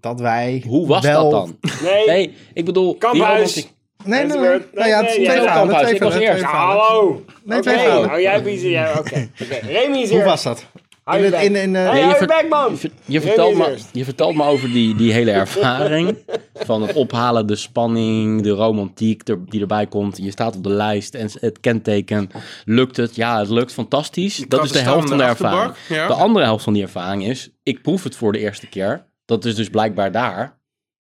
dat wij
hoe was
wel...
dat dan?
Nee,
Nee, ik bedoel... die
Kamphuis.
romantiek-
Nee, nee, nee.
Nee,
Nou ja,
nee,
het zijn
jij
twee
was
verhalen.
kamphuis,
Twee
ik was
verhalen,
eerst.
twee
Ja,
verhalen.
hallo.
Nee,
Oké,
twee verhalen.
Oh, jij bent ja, oké. Oké, Remy is
Hoe
hier.
was dat?
Hou
in
je
het-
bek.
in- in, eh,
Hey,
je
hou je
ver-
bek, man.
Je, je vertelt
Remy is
me,
eerst.
je vertelt me over die, die hele ervaring. van het ophalen, de spanning, de romantiek er- die erbij komt. Je staat op de lijst en het kenteken. Lukt het? Ja, het lukt fantastisch. Dat
kratten
is de
staan
helft van
aan
de
de
ervaring.
achterbak, ja.
De andere helft van die ervaring is, ik proef het voor de eerste keer. Dat is dus blijkbaar daar.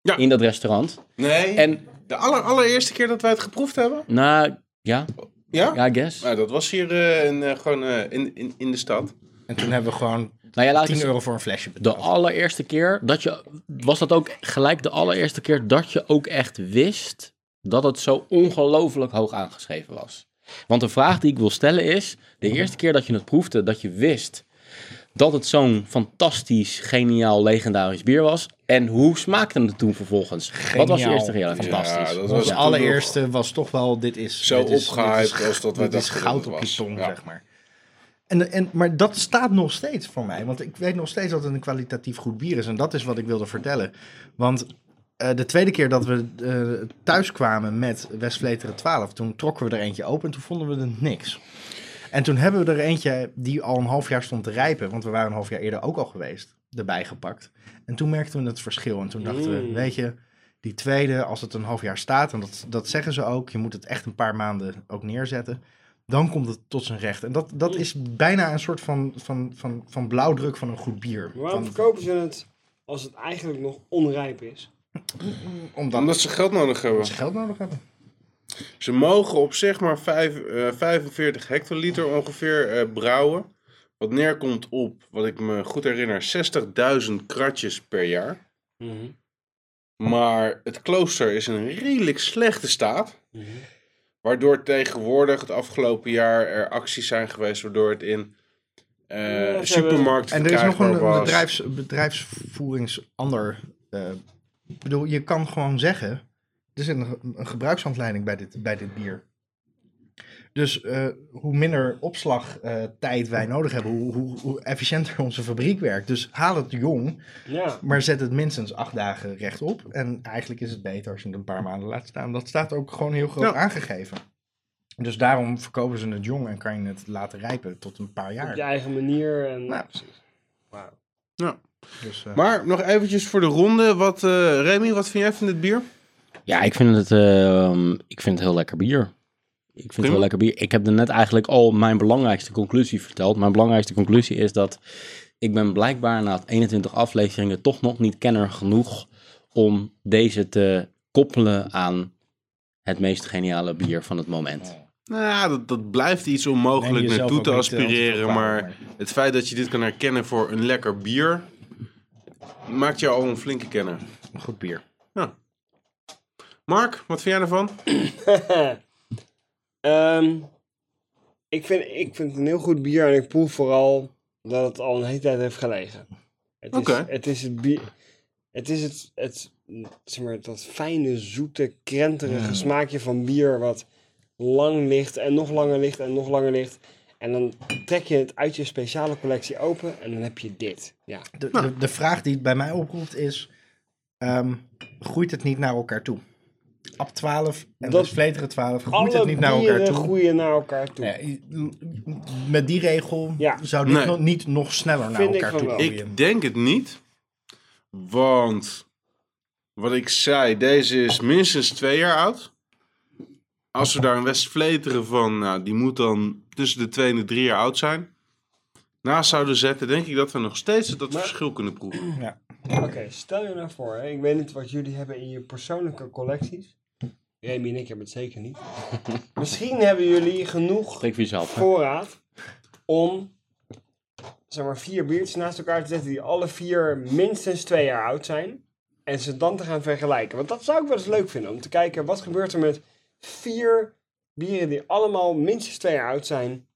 Ja.
In dat restaurant.
Nee. En
En,
de aller, allereerste keer dat wij het geproefd hebben.
nou, ja,
Ja.
ja, I guess.
Nou, dat was hier eh, in, eh, gewoon eh, in, in, in de stad.
En toen hebben we gewoon
Nou, ja, laat ik
10
eens-
euro voor een flesje betaald.
De allereerste keer dat je. Was dat ook gelijk de allereerste keer dat je ook echt wist dat het zo ongelooflijk hoog aangeschreven was? Want de vraag die ik wil stellen is:
Mhm.
de eerste keer dat je het proefde, dat je wist dat het zo'n fantastisch, geniaal, legendarisch bier was. En hoe smaakte het toen vervolgens? Wat was je
Geniaal.
eerste reactie? Fantastisch.
Ja, dat was
Ons
toen
Dus allereerste was toch wel, dit is...
Zo
dit is- dit is
opgehyped
goud-
als dat wij
Dit is
dachten dat
goud
het
op je
was.
tong,
Ja.
zeg maar. En, en, maar dat staat nog steeds voor mij. Want ik weet nog steeds dat het een kwalitatief goed bier is. En dat is wat ik wilde vertellen. Want eh, de tweede keer dat we eh, thuis kwamen met Westvleteren 12... toen trokken we er eentje open en toen vonden we het niks. En toen hebben we er eentje die al een half jaar stond te rijpen... want we waren een half jaar eerder ook al geweest, erbij gepakt. En toen merkten we het verschil. En toen dachten
Mm.
we, weet je... Die tweede, als het een half jaar staat, en dat, dat zeggen ze ook, je moet het echt een paar maanden ook neerzetten, dan komt het tot zijn recht. En dat,
Mm.
dat is bijna een soort van, van, van, van blauwdruk van een goed bier.
Waarom
Van-
verkopen ze het als het eigenlijk nog onrijp is?
Omdat,
Omdat ze geld nodig hebben.
ze geld nodig hebben.
Ze mogen op zeg maar vijf, eh, 45 hectoliter ongeveer eh, brouwen. Wat neerkomt op, wat ik me goed herinner, 60.000 kratjes per jaar. Maar het klooster is in een redelijk slechte staat. Waardoor tegenwoordig het afgelopen jaar er acties zijn geweest, waardoor het in eh
hebben-
supermarkten
En er is nog
verkrijgbaar
een,
was.
een bedrijfs, bedrijfsvoeringsander. eh, ik bedoel, je kan gewoon zeggen, er zit een, een gebruikshandleiding bij dit, bij dit bier. Dus eh, hoe minder opslagtijd wij nodig hebben, hoe, hoe, hoe efficiënter onze fabriek werkt. Dus haal het jong
Ja.
Maar zet het minstens acht dagen rechtop. En eigenlijk is het beter als je het een paar maanden laat staan. Dat staat ook gewoon heel groot
Ja.
aangegeven. Dus daarom verkopen ze het jong en kan je het laten rijpen tot een paar
Op
jaar.
je eigen manier. En...
Nou.
precies. Wauw.
Dus, eh,
Maar nog eventjes voor de ronde. Wat, eh, Remy, wat vind jij van dit bier?
Ja, ik vind het, ehm, ik vind het heel lekker bier. Ik vind het heel lekker bier. Ik heb er net eigenlijk al mijn belangrijkste conclusie verteld. Mijn belangrijkste conclusie is dat ik ben blijkbaar na 21 afleveringen toch nog niet kenner genoeg om deze te koppelen aan het meest geniale bier van het moment.
Nou, ja, dat, dat blijft iets
Neem
onmogelijk
jezelf
naartoe
ook
te
niet, eh, te
aspireren.
kwalijk,
Maar
maar-
het feit dat je dit kan herkennen voor een lekker bier. maakt jou al een flinke kenner.
een goed bier.
Mark, wat vind jij ervan?
Ehm, ik, vind, ik vind het een heel goed bier en ik proef vooral dat het al een hele tijd heeft gelegen. Het is
Oké.
het, is het bier. Het is het, het zeg maar, dat fijne, zoete, krenterige
Mm.
smaakje van bier wat lang ligt en nog langer ligt en nog langer ligt. En dan trek je het uit je speciale collectie open en dan heb je dit. Ja.
De, de, de vraag die het bij mij oproept is: ehm, groeit het niet naar elkaar toe? ab 12 en
Dat-
dus vleteren 12. Groeit
Alle
het niet naar elkaar
bieren
toe.
groeien naar elkaar toe.
Nee, met die regel
Ja.
zou dit
Nee.
nog, niet nog sneller naar
Vind ik
elkaar
van
toe
wel.
groeien.
Ik denk het niet. Want wat ik zei, deze is minstens twee jaar oud. Als we daar een Westvleteren van, nou, die moet dan tussen de twee en de drie jaar oud zijn. Naast zouden zetten, denk ik dat we nog steeds dat
Maar-
verschil kunnen proeven.
Oké, stel je nou voor, hè, ik weet niet wat jullie hebben in je persoonlijke collecties. Remy en ik hebben het zeker niet. Misschien hebben jullie genoeg
Spreek voor jezelf. hè.
voorraad om zeg maar vier biertjes naast elkaar te zetten die alle vier minstens twee jaar oud zijn. En ze dan te gaan vergelijken. Want dat zou ik wel eens leuk vinden. Om te kijken wat gebeurt er met vier bieren die allemaal minstens twee jaar oud zijn.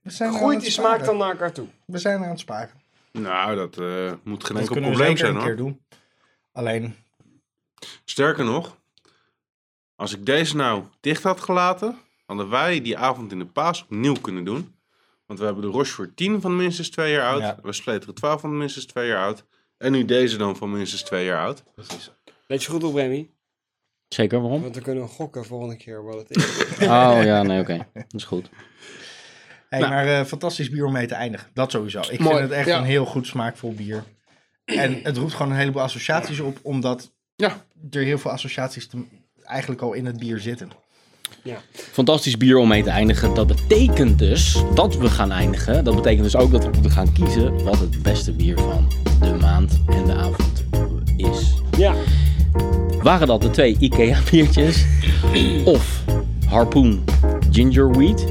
We zijn aan
Groeit
het
die
sparen.
smaak dan naar elkaar toe?
We zijn aan het sparen.
Nou, dat eh, moet geen
Dat
enkel
kunnen we
probleem
zeker
zijn
een keer
hoor.
doen. Alleen,
Sterker nog, als ik deze nou dicht had gelaten, hadden wij die avond in de paas opnieuw kunnen doen. Want we hebben de Rochefort 10 van minstens twee jaar oud,
Ja.
we Sleteren 12 van minstens twee jaar oud. En nu deze dan van minstens twee jaar oud.
Let je goed op, Remy.
Zeker, waarom?
Want we kunnen gokken volgende keer wat het is.
Oh ja, nee, oké. Dat is goed.
hey, maar eh, fantastisch bier om mee te eindigen. Dat sowieso. Ik
Nou. Mooi,
vind het echt
ja.
een heel goed smaakvol bier. En het roept gewoon een heleboel associaties op, omdat
Ja.
er heel veel associaties te- eigenlijk al in het bier zitten.
Fantastisch bier om mee te eindigen. Dat betekent dus dat we gaan eindigen. Dat betekent dus ook dat we moeten gaan kiezen wat het beste bier van de maand en de avond is.
ja,
Waren dat de twee IKEA-biertjes? Of Harpoon Gingerweed?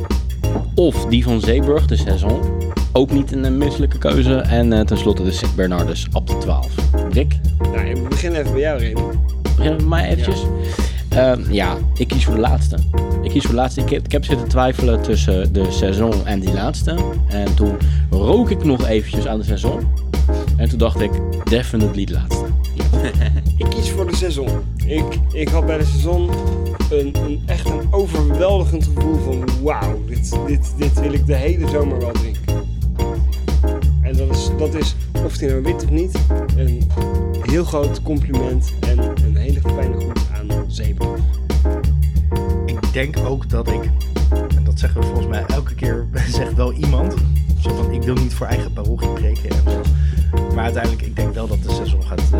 Of die van Zeeburg, de Saison? Ook niet een eh, misselijke keuze. En eh, tenslotte de Sint Bernardus op de 12. Rick,
nou, we beginnen even bij jou, Remy.
begin met mij eventjes. Ehm, ja, ik kies voor de laatste. Ik kies voor de laatste. Ik heb, ik heb zitten twijfelen tussen de Saison en die laatste. En toen rook ik nog eventjes aan de Saison. En toen dacht ik, definitely de laatste.
Ik kies voor de seizoen. Ik, ik had bij de seizoen een, een, echt een overweldigend gevoel van wauw, dit, dit, dit wil ik de hele zomer wel drinken. En dat is, dat is of die nou wit of niet, een heel groot compliment en een hele fijne groet aan Zeeburg.
Ik denk ook dat ik, en dat zeggen we volgens mij elke keer, zegt wel iemand. Zo van, ik wil niet voor eigen parochie preken en zo. Maar uiteindelijk, ik denk wel dat de seizoen gaat. eh,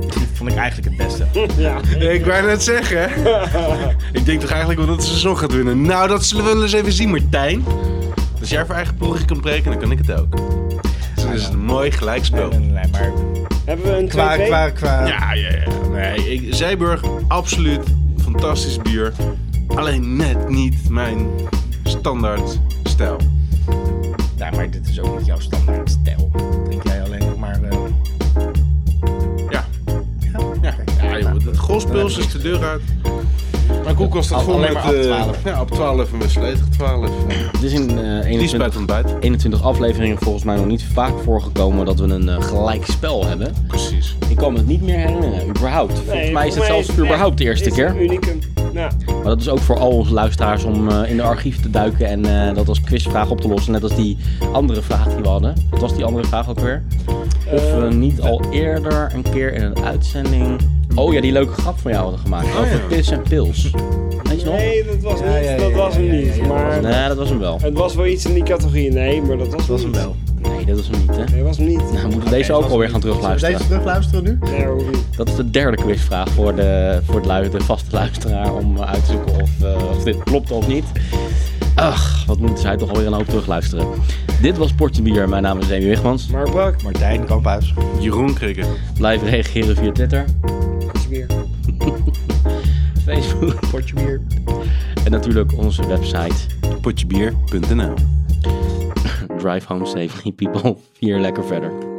die vond ik eigenlijk het beste.
Ja,
Ik wou net zeggen. ik denk toch eigenlijk wel dat ze zon gaat winnen. Nou, dat zullen we wel eens even zien, Martijn. Als jij voor eigen ploeg kan breken, dan kan ik het ook. Dus het is een mooi
Nee,
gelijkspel.
nee, nee, maar
hebben we een
qua,
2-2?
qua, qua
Ja, ja, ja. Nee, ik, Zeeburg, absoluut fantastisch bier. Alleen net niet mijn standaard stijl.
Nou, maar dit is ook niet jouw standaard stijl. Drink jij alleen nog maar... eh,
Ja,
ja,
ja.
kijk,
ja
nou,
joh, dat golfpils is de deur uit. Maar koek was dat
Al-
gewoon
alleen
met...
maar op
eh,
12.
Ja, op 12 en we sleten 12.
Het is in eh
Die
21
spuit ontbijt.
21 afleveringen volgens mij nog niet vaak voorgekomen dat we een eh, gelijk spel hebben.
Precies.
Ik kan me het niet meer herinneren, überhaupt. volgens mij is het zelfs überhaupt de eerste
is het
keer.
Unicum. Nou,
Maar dat is ook voor al onze luisteraars om eh, in de archief te duiken en eh, dat als quizvraag op te lossen. Net als die andere vraag die we hadden. Wat was die andere vraag ook weer? Of we niet al eerder een keer in een uitzending... Oh ja, die leuke grap van jou hadden gemaakt. over
ja.
pis en pils. Weet je nog?
nee, dat was
Ja,
niet,
ja,
dat
ja,
was
ja,
hem
ja,
niet.
ja, ja, dat
maar
Nee, dat was hem wel.
het was wel iets in die categorie, nee, maar dat was,
Dat was hem
niet.
wel.
Nee, dat was hem niet, hè?
Nee, was hem niet.
Nou, we moeten deze
Oké,
ook
was
alweer
hem.
gaan terugluisteren.
Zullen we deze terugluisteren nu?
Nee, hoor, niet.
Dat is de derde quizvraag voor de, voor het lu- de vaste luisteraar om eh, uit te zoeken of, eh, of dit klopt of niet. Ach, wat moeten zij toch alweer een hoop terugluisteren. Dit was Portje Bier. Mijn naam is Remy Wigmans.
Maar Brak,
Martijn Kamphuis.
Jeroen Krikker.
Blijf reageren via Twitter,
is weer.
Facebook
Potje bier.
en natuurlijk onze website
Potjebier.nl
Drive Home Safely People. Vier lekker verder.